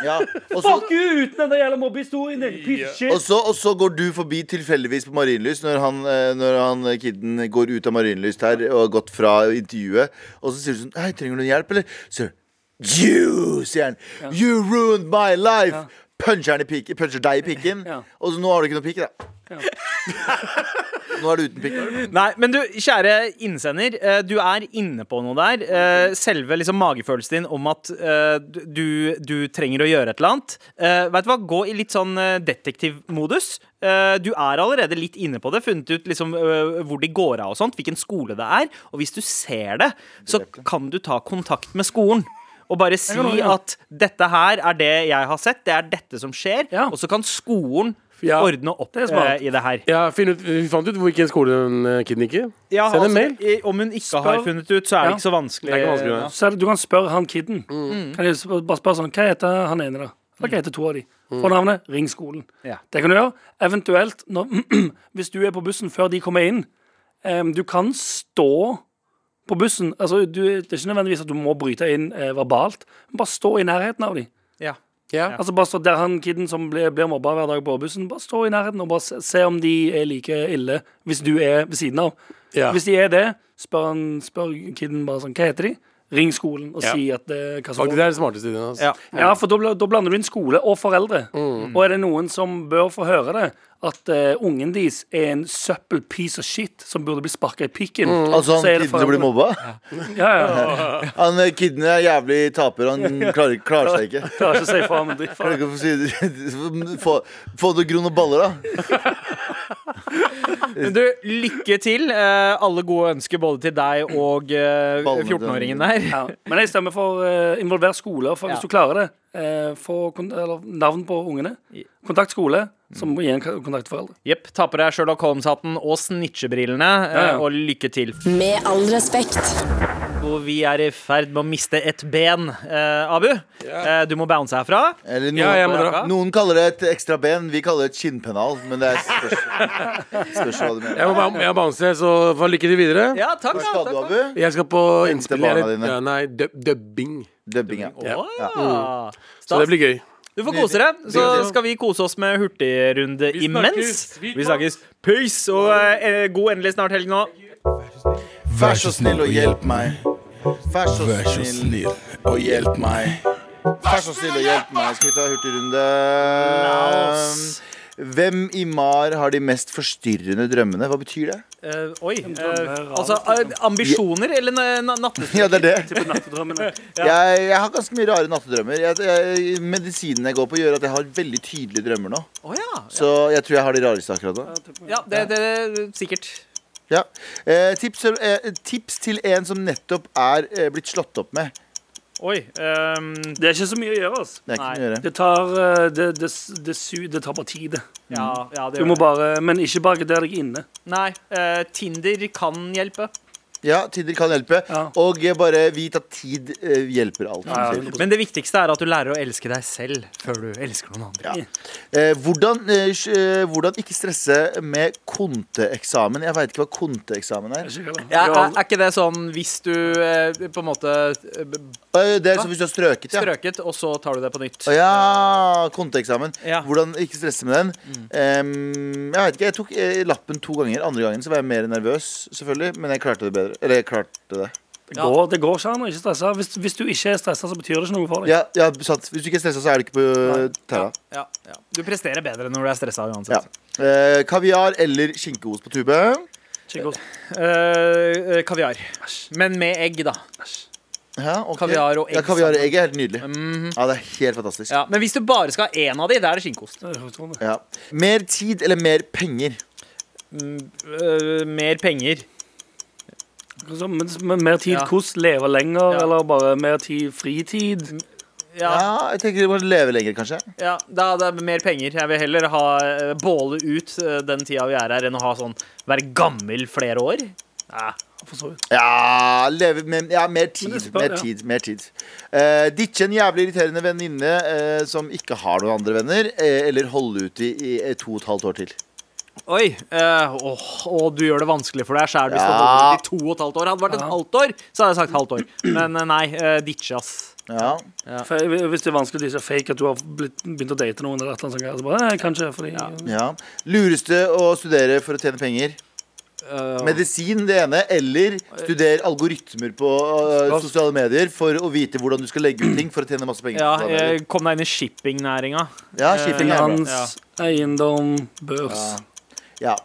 Speaker 1: Ja. Og så,
Speaker 2: Fuck you uten den der jævla mobbehistorien din! Piece of
Speaker 1: og,
Speaker 2: shit.
Speaker 1: så, og så går du forbi tilfeldigvis på Marienlyst når han, eh, når han eh, kidden går ut av Marienlyst her og har gått fra intervjuet, og så sier du sånn Hei, trenger du noe hjelp, eller? Så You, sier han. You ruined my life! Puncher, han i pikken, puncher deg i pikken.
Speaker 2: Ja.
Speaker 1: Og så nå har du ikke noe pikk, da. nå er du uten pikk.
Speaker 3: Nei, men du, kjære innsender, eh, du er inne på noe der. Eh, Selve liksom magefølelsen din om at eh, du, du trenger å gjøre et eller annet. Eh, Vet du hva, gå i litt sånn eh, detektivmodus. Eh, Du er allerede litt inne på det, funnet ut liksom eh, hvor de går av og sånt, hvilken skole det er. Og hvis du ser det, så kan du ta kontakt med skolen. Og bare si at dette her er det jeg har sett, det er dette som skjer.
Speaker 2: Ja.
Speaker 3: Og så kan skolen
Speaker 4: Ja.
Speaker 3: ordne opp
Speaker 2: Det er smart.
Speaker 3: eh, i det her.
Speaker 4: Ja, finn ut, vi fant ut hvilken skole den eh, kiden gikk i.
Speaker 3: Ja,
Speaker 4: Send en
Speaker 3: altså,
Speaker 4: mail.
Speaker 3: i- Om hun ikke har funnet ut, så er det
Speaker 2: Ja.
Speaker 3: ikke så vanskelig.
Speaker 4: Det er ikke vanskelig. det.
Speaker 2: Så er det- du kan spørre han kiden. Kan jeg sp- bare spørre sånn Hva heter han ene, da? Hva heter to av de? Få navnet, ring skolen.
Speaker 3: Ja.
Speaker 2: Det kan du gjøre. Eventuelt, når, hvis du er på bussen før de kommer inn em, Du kan stå på bussen. Altså, du, det er ikke nødvendigvis at du må bryte inn eh, verbalt, men bare stå i nærheten av dem.
Speaker 3: Ja.
Speaker 4: Ja.
Speaker 2: Altså bare stå der han kiden som blir, blir mobba hver dag på bussen, bare stå i nærheten og bare se, se om de er like ille hvis du er ved siden av.
Speaker 4: Ja.
Speaker 2: Hvis de er det, spør, han, spør kiden bare sånn Hva heter de? Ring skolen og
Speaker 4: Ja.
Speaker 2: si at det hva som
Speaker 4: Faktisk, det altså. er den smarteste ideen hans.
Speaker 3: Ja.
Speaker 2: ja, for da, bla- da blander du inn skole og foreldre. Og er det noen som bør få høre det, at eh, ungen deres er en søppel piece of shit som burde bli sparka i pikken,
Speaker 1: Altså, han
Speaker 2: så er det
Speaker 1: kidden som blir
Speaker 2: foreldre.
Speaker 1: mobba?
Speaker 2: Ja, ja.
Speaker 1: Han eh, kidden er jævlig taper. Han klarer, klarer seg ikke.
Speaker 2: Klarer ikke å si fra, men dritt
Speaker 1: Kan
Speaker 2: faen.
Speaker 1: du ikke få, si, få, få noen grunn og baller, da.
Speaker 3: Men Du, lykke til. Eh, alle gode ønsker både til deg og eh,
Speaker 1: Ballene
Speaker 3: 14-åringen der.
Speaker 2: Ja. Men jeg stemmer for uh, involver skoler, for hvis
Speaker 3: Ja.
Speaker 2: du klarer det. eh, få kon eller navn på ungene. Kontakt skole, som igjen kan- kontakt foreldre.
Speaker 3: Jepp. Ta på deg Sherlock Holmes-hatten og snitchebrillene, eh,
Speaker 2: ja.
Speaker 3: og lykke til.
Speaker 5: Med all respekt.
Speaker 3: Og vi er i ferd med å miste et ben. Eh, Abu, eh, du må bounce herfra.
Speaker 1: Eller noen,
Speaker 4: Ja, jeg må dra.
Speaker 1: noen kaller det et ekstra ben, vi kaller det et skinnpennal. Men det er spørsmål, spørsmål hva du mener.
Speaker 4: Jeg må ba- jeg må bounce, så får lykke til videre.
Speaker 3: Ja, takk.
Speaker 1: Hva
Speaker 3: Ja,
Speaker 1: skal
Speaker 3: takk.
Speaker 1: du, Abu?
Speaker 4: Jeg skal på innspill
Speaker 1: barna
Speaker 4: eller-
Speaker 1: dine.
Speaker 4: Ja, nei, dub dubbing.
Speaker 1: Dubbing, ja.
Speaker 4: Ja.
Speaker 3: Ah,
Speaker 4: Så
Speaker 3: Stas.
Speaker 4: det blir gøy.
Speaker 3: Du får kose deg. Så skal vi kose oss med hurtigrunde
Speaker 4: Vi
Speaker 3: imens.
Speaker 4: snakkes.
Speaker 3: Vi snakkes. Peace, og eh, god endelig snart helg nå.
Speaker 1: Vær så snill og hjelp meg. Vær så
Speaker 7: Vær så
Speaker 1: snill.
Speaker 7: snill og hjelp meg.
Speaker 1: Vær så snill og hjelp meg. Skal vi ta hurtigrunde?
Speaker 3: Nice.
Speaker 1: Hvem i MAR har de mest forstyrrende drømmene? Hva betyr det?
Speaker 3: Eh, oi. eh,
Speaker 2: drømmer,
Speaker 3: altså eh, ambisjoner eller na- na- nattestund?
Speaker 1: Ja, det er det.
Speaker 2: Tipper nattedrømmene.
Speaker 1: Jeg, jeg har ganske mye rare nattedrømmer. Jeg, jeg, medisinen jeg går på, gjør at jeg har veldig tydelige drømmer nå.
Speaker 3: Å ja.
Speaker 1: Så jeg tror jeg har de rareste akkurat nå.
Speaker 3: ja det, det, det sikkert.
Speaker 1: Ja. Eh, tips, til- eh, tips til en som nettopp er eh, blitt slått opp med.
Speaker 3: Oi. ehm,
Speaker 2: Det er ikke så mye å gjøre. Altså.
Speaker 1: Det er ikke
Speaker 3: Nei.
Speaker 1: noe å gjøre.
Speaker 2: Det tar eh, det, det, s- det, su- det tar bare tid.
Speaker 3: ja, ja, det
Speaker 2: Du
Speaker 3: gjør
Speaker 2: må
Speaker 3: det.
Speaker 2: bare, men ikke barrikader deg inne.
Speaker 3: Nei. eh, Tinder kan hjelpe.
Speaker 1: Ja, tider kan hjelpe.
Speaker 2: Ja.
Speaker 1: Og eh, bare vit at tid eh, hjelper alt.
Speaker 2: Ja, ja,
Speaker 1: som sier.
Speaker 3: Men det viktigste er at du lærer å elske deg selv før du elsker noen andre.
Speaker 1: Eh, hvordan, eh, sj- eh, hvordan ikke stresse med konteeksamen? Jeg veit ikke hva konteeksamen er.
Speaker 3: Ja, er, er ikke det sånn hvis du eh, på en måte eh, b-
Speaker 1: Eh, Det er som hvis du har strøket, ja.
Speaker 3: strøket, og så tar du det på nytt?
Speaker 1: Å ja, konteeksamen.
Speaker 3: Ja.
Speaker 1: Hvordan ikke stresse med den. Em, jeg vet ikke, jeg tok eh, lappen to ganger. Andre gangen så var jeg mer nervøs, selvfølgelig. Men jeg klarte det bedre. Eller jeg klarte det.
Speaker 2: Det går, det går ikke an å ikke stresse. Hvis, hvis du ikke er stressa, så betyr det ikke noe for deg.
Speaker 1: Ja, ja sant. Hvis du ikke er stressa, så er du ikke på eh, tæra.
Speaker 3: Ja, ja. Du presterer bedre når du er stressa
Speaker 1: Ja.
Speaker 3: uansett.
Speaker 1: Eh, kaviar eller skinkeost på tube?
Speaker 2: Ikke godt.
Speaker 3: Eh, eh, kaviar. Men med egg, da.
Speaker 1: Ja, ok.
Speaker 3: Kaviar og egg
Speaker 1: Ja, kaviar og
Speaker 3: sammen.
Speaker 1: egg er helt nydelig. Ja, det er helt fantastisk. Ja.
Speaker 3: Ja, men hvis du bare skal ha én av de, da er det skinkeost.
Speaker 2: Det er utrolig.
Speaker 1: Mer tid eller mer penger?
Speaker 3: Eh, mer penger.
Speaker 2: Så, Men, men mer tid
Speaker 3: Ja.
Speaker 2: hvordan? Leve lenger,
Speaker 3: Ja.
Speaker 2: eller bare mer tid fritid?
Speaker 1: Ja,
Speaker 3: Ja,
Speaker 1: jeg tenker du må leve lenger, kanskje.
Speaker 3: ja da, det er mer penger. Jeg vil heller ha eh, båle ut eh, den tida vi er her, enn å ha sånn være gammel flere år.
Speaker 2: For så vidt.
Speaker 1: Ja, leve med, ja mer tid.
Speaker 2: det spør-
Speaker 1: mer
Speaker 2: ja.
Speaker 1: tid, mer tid. Eh, ditche en jævlig irriterende venninne eh, som ikke har noen andre venner, eh, eller holde ut i, i eh, to og et halvt år til.
Speaker 3: Oi. eh, åh, og du gjør det vanskelig for deg sjæl. Du skal
Speaker 1: Ja.
Speaker 3: holde ut i to og et halvt år. Hadde det vært et halvt år, så hadde jeg sagt halvt år. Men eh, nei, eh, ditche, ass.
Speaker 1: Ja.
Speaker 2: For Hvis det er vanskelig å ikke fake at du har blitt, begynt å date noen, eller et eller annet sånt, greier, så bare, «Nei, kanskje, fordi
Speaker 1: ja. Lureste å studere for å tjene penger? Medisin, det ene. Eller studer algoritmer på eh, sosiale medier for å vite hvordan du skal legge ut ting for å tjene masse penger.
Speaker 3: Ja,
Speaker 1: på sosiale medier.
Speaker 3: eh, kom deg inn i shippingnæringa.
Speaker 1: ja
Speaker 2: eh,
Speaker 1: shipping er bra.
Speaker 2: Finans, eiendom, børs.
Speaker 1: Ja.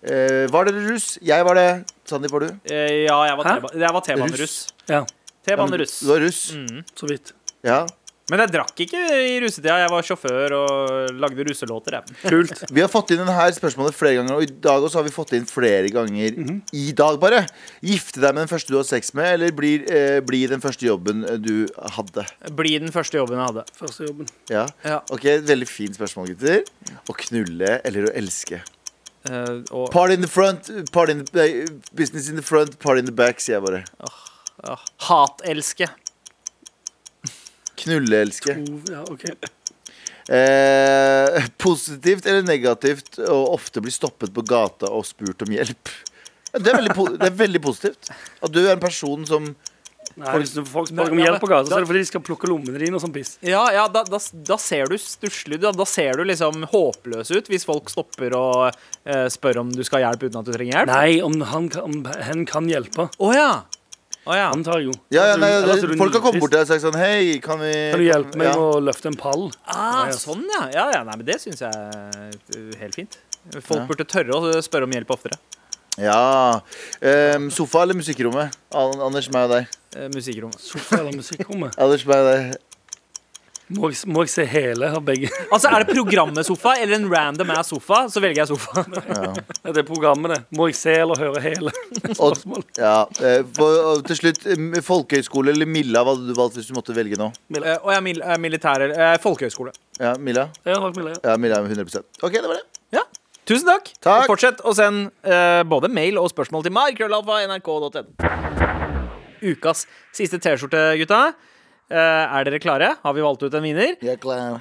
Speaker 1: Eh, var dere russ? Jeg var det. Sandeep, var du?
Speaker 3: Eh, ja, jeg var
Speaker 2: Hæ?
Speaker 3: T-ba- jeg var T-baneruss.
Speaker 1: Russ.
Speaker 2: Ja,
Speaker 3: T-baneruss.
Speaker 1: Du var russ?
Speaker 2: så vidt.
Speaker 1: Ja.
Speaker 3: Men jeg drakk ikke i rusetida. Jeg var sjåfør og lagde ruselåter. Jeg.
Speaker 2: Kult.
Speaker 1: Vi har fått inn denne spørsmålet flere ganger, og i dag også har vi fått inn flere ganger. I dag bare Gifte deg med den første du har sex med, eller bli, eh, bli den første jobben eh, du hadde?
Speaker 3: Bli den første jobben jeg hadde.
Speaker 2: Første jobben.
Speaker 1: Ja.
Speaker 3: Ja.
Speaker 1: Ok, et Veldig fint spørsmål, gutter. Å knulle eller å elske?
Speaker 3: Eh, og
Speaker 1: Party in the front, party in the, eh, business in the front, party in the back, sier jeg bare.
Speaker 3: ja, hatelske.
Speaker 1: Knulle-elske.
Speaker 2: Ov- Ja, ok.
Speaker 1: Eh, positivt eller negativt å ofte bli stoppet på gata og spurt om hjelp? Ja, Det er veldig, po det er veldig positivt. At du er en person som
Speaker 2: Nei, hvis du- folk spør om
Speaker 3: Nei, ja,
Speaker 2: hjelp på gata,
Speaker 3: da-
Speaker 2: så er det fordi de skal plukke lommene dine og sånn piss.
Speaker 3: Ja, ja da, da, da ser du stusslig ut. Da, da ser du liksom håpløs ut hvis folk stopper og eh, spør om du skal ha hjelp uten at du trenger hjelp.
Speaker 2: Nei, om han kan, om hen kan hjelpe,
Speaker 3: Å ja. Å ja.
Speaker 2: antar jeg jo.
Speaker 1: Ja, ja, nei,
Speaker 2: Eller at
Speaker 1: det,
Speaker 2: du-
Speaker 1: folk har kommet bort til deg og sagt sånn Hei, kan vi
Speaker 2: Kan du hjelpe meg
Speaker 1: ja.
Speaker 2: med å løfte en pall?
Speaker 3: Ah,
Speaker 2: Ja, ja.
Speaker 3: sånn, ja. ja, ja nei, men det syns jeg er eh, helt fint. Folk burde tørre å spørre om hjelp oftere.
Speaker 1: Ja. Ehm, sofa eller musikkrommet? An Anders, meg og deg.
Speaker 3: Eh, musikkrom.
Speaker 2: Sofa eller musikkrommet?
Speaker 1: Anders, meg og deg.
Speaker 2: Må jeg, må jeg se hele av begge?
Speaker 3: Altså, er det programmet sofa eller en random ass sofa, så velger jeg sofa.
Speaker 2: Ja, Det er programmet, det. Må jeg se eller høre hele?
Speaker 1: Og, ja, eh, på- og til slutt, em, folkehøyskole eller Milla, hva hadde du valgt hvis du måtte velge nå?
Speaker 3: Eh, Og jeg er mil eh, militær eh, folkehøyskole.
Speaker 1: Ja, Milla?
Speaker 2: Jeg har lagt meg leie.
Speaker 1: Ja, Milla er 100 OK, det var det.
Speaker 3: Ja. Tusen takk.
Speaker 1: Takk.
Speaker 3: Og fortsett å sende eh, både mail og spørsmål til meg. Krøllalfa, nrk.no. Ukas siste T-skjorte, gutta. Eh, er dere klare? Har vi valgt ut en vinner?
Speaker 1: Jeg er klar.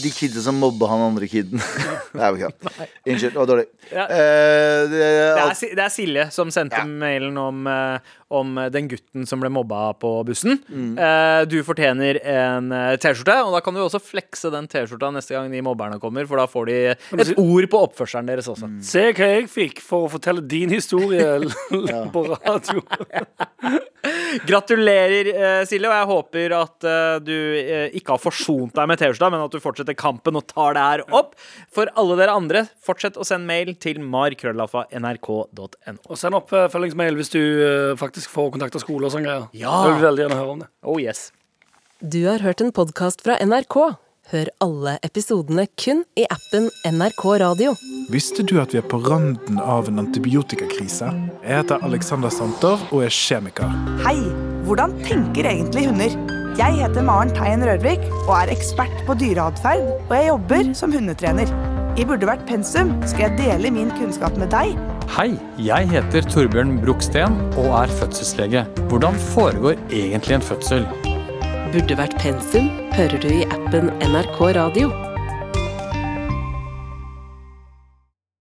Speaker 1: De kidsa som mobba han andre kiden. Nei, okay. Unnskyld, det var dårlig.
Speaker 3: Ja.
Speaker 1: Eh, det,
Speaker 3: Det er, Si- det er Silje som sendte
Speaker 1: Ja.
Speaker 3: mailen om, eh, om den gutten som ble mobba på bussen.
Speaker 1: Mm.
Speaker 3: Eh, du fortjener en eh, T-skjorte, og da kan du også flekse den T-skjorta neste gang de mobberne kommer, for da får de et ord på oppførselen deres også.
Speaker 2: Se hva jeg fikk for å fortelle din historie på radio.
Speaker 3: Gratulerer, eh, Silje, og jeg håper at eh, du eh, ikke har forsont deg med T-skjorta, men at du fortsetter kampen og tar det her opp. For alle dere andre, fortsett å sende mail til markrøllafa.nrk.no.
Speaker 2: Og send oppfølgingsmail hvis du eh, faktisk får kontakta skole og sånne greier.
Speaker 3: Ja.
Speaker 2: Jeg vil veldig gjerne høre om det.
Speaker 3: Oh yes.
Speaker 5: Du har hørt en podkast fra NRK. Hør alle episodene kun i appen NRK Radio.
Speaker 8: Visste du at vi er på randen av en antibiotikakrise? Jeg heter Alexander Santer og er kjemiker.
Speaker 9: Hei! Hvordan tenker egentlig hunder? Jeg heter Maren Teien Rørvik og er ekspert på dyreatferd, og jeg jobber som hundetrener. I Burde vært pensum skal jeg dele min kunnskap med deg
Speaker 10: Hei, jeg heter Torbjørn Broksten og er fødselslege. Hvordan foregår egentlig en fødsel?
Speaker 5: Burde vært pensum hører du i appen NRK Radio.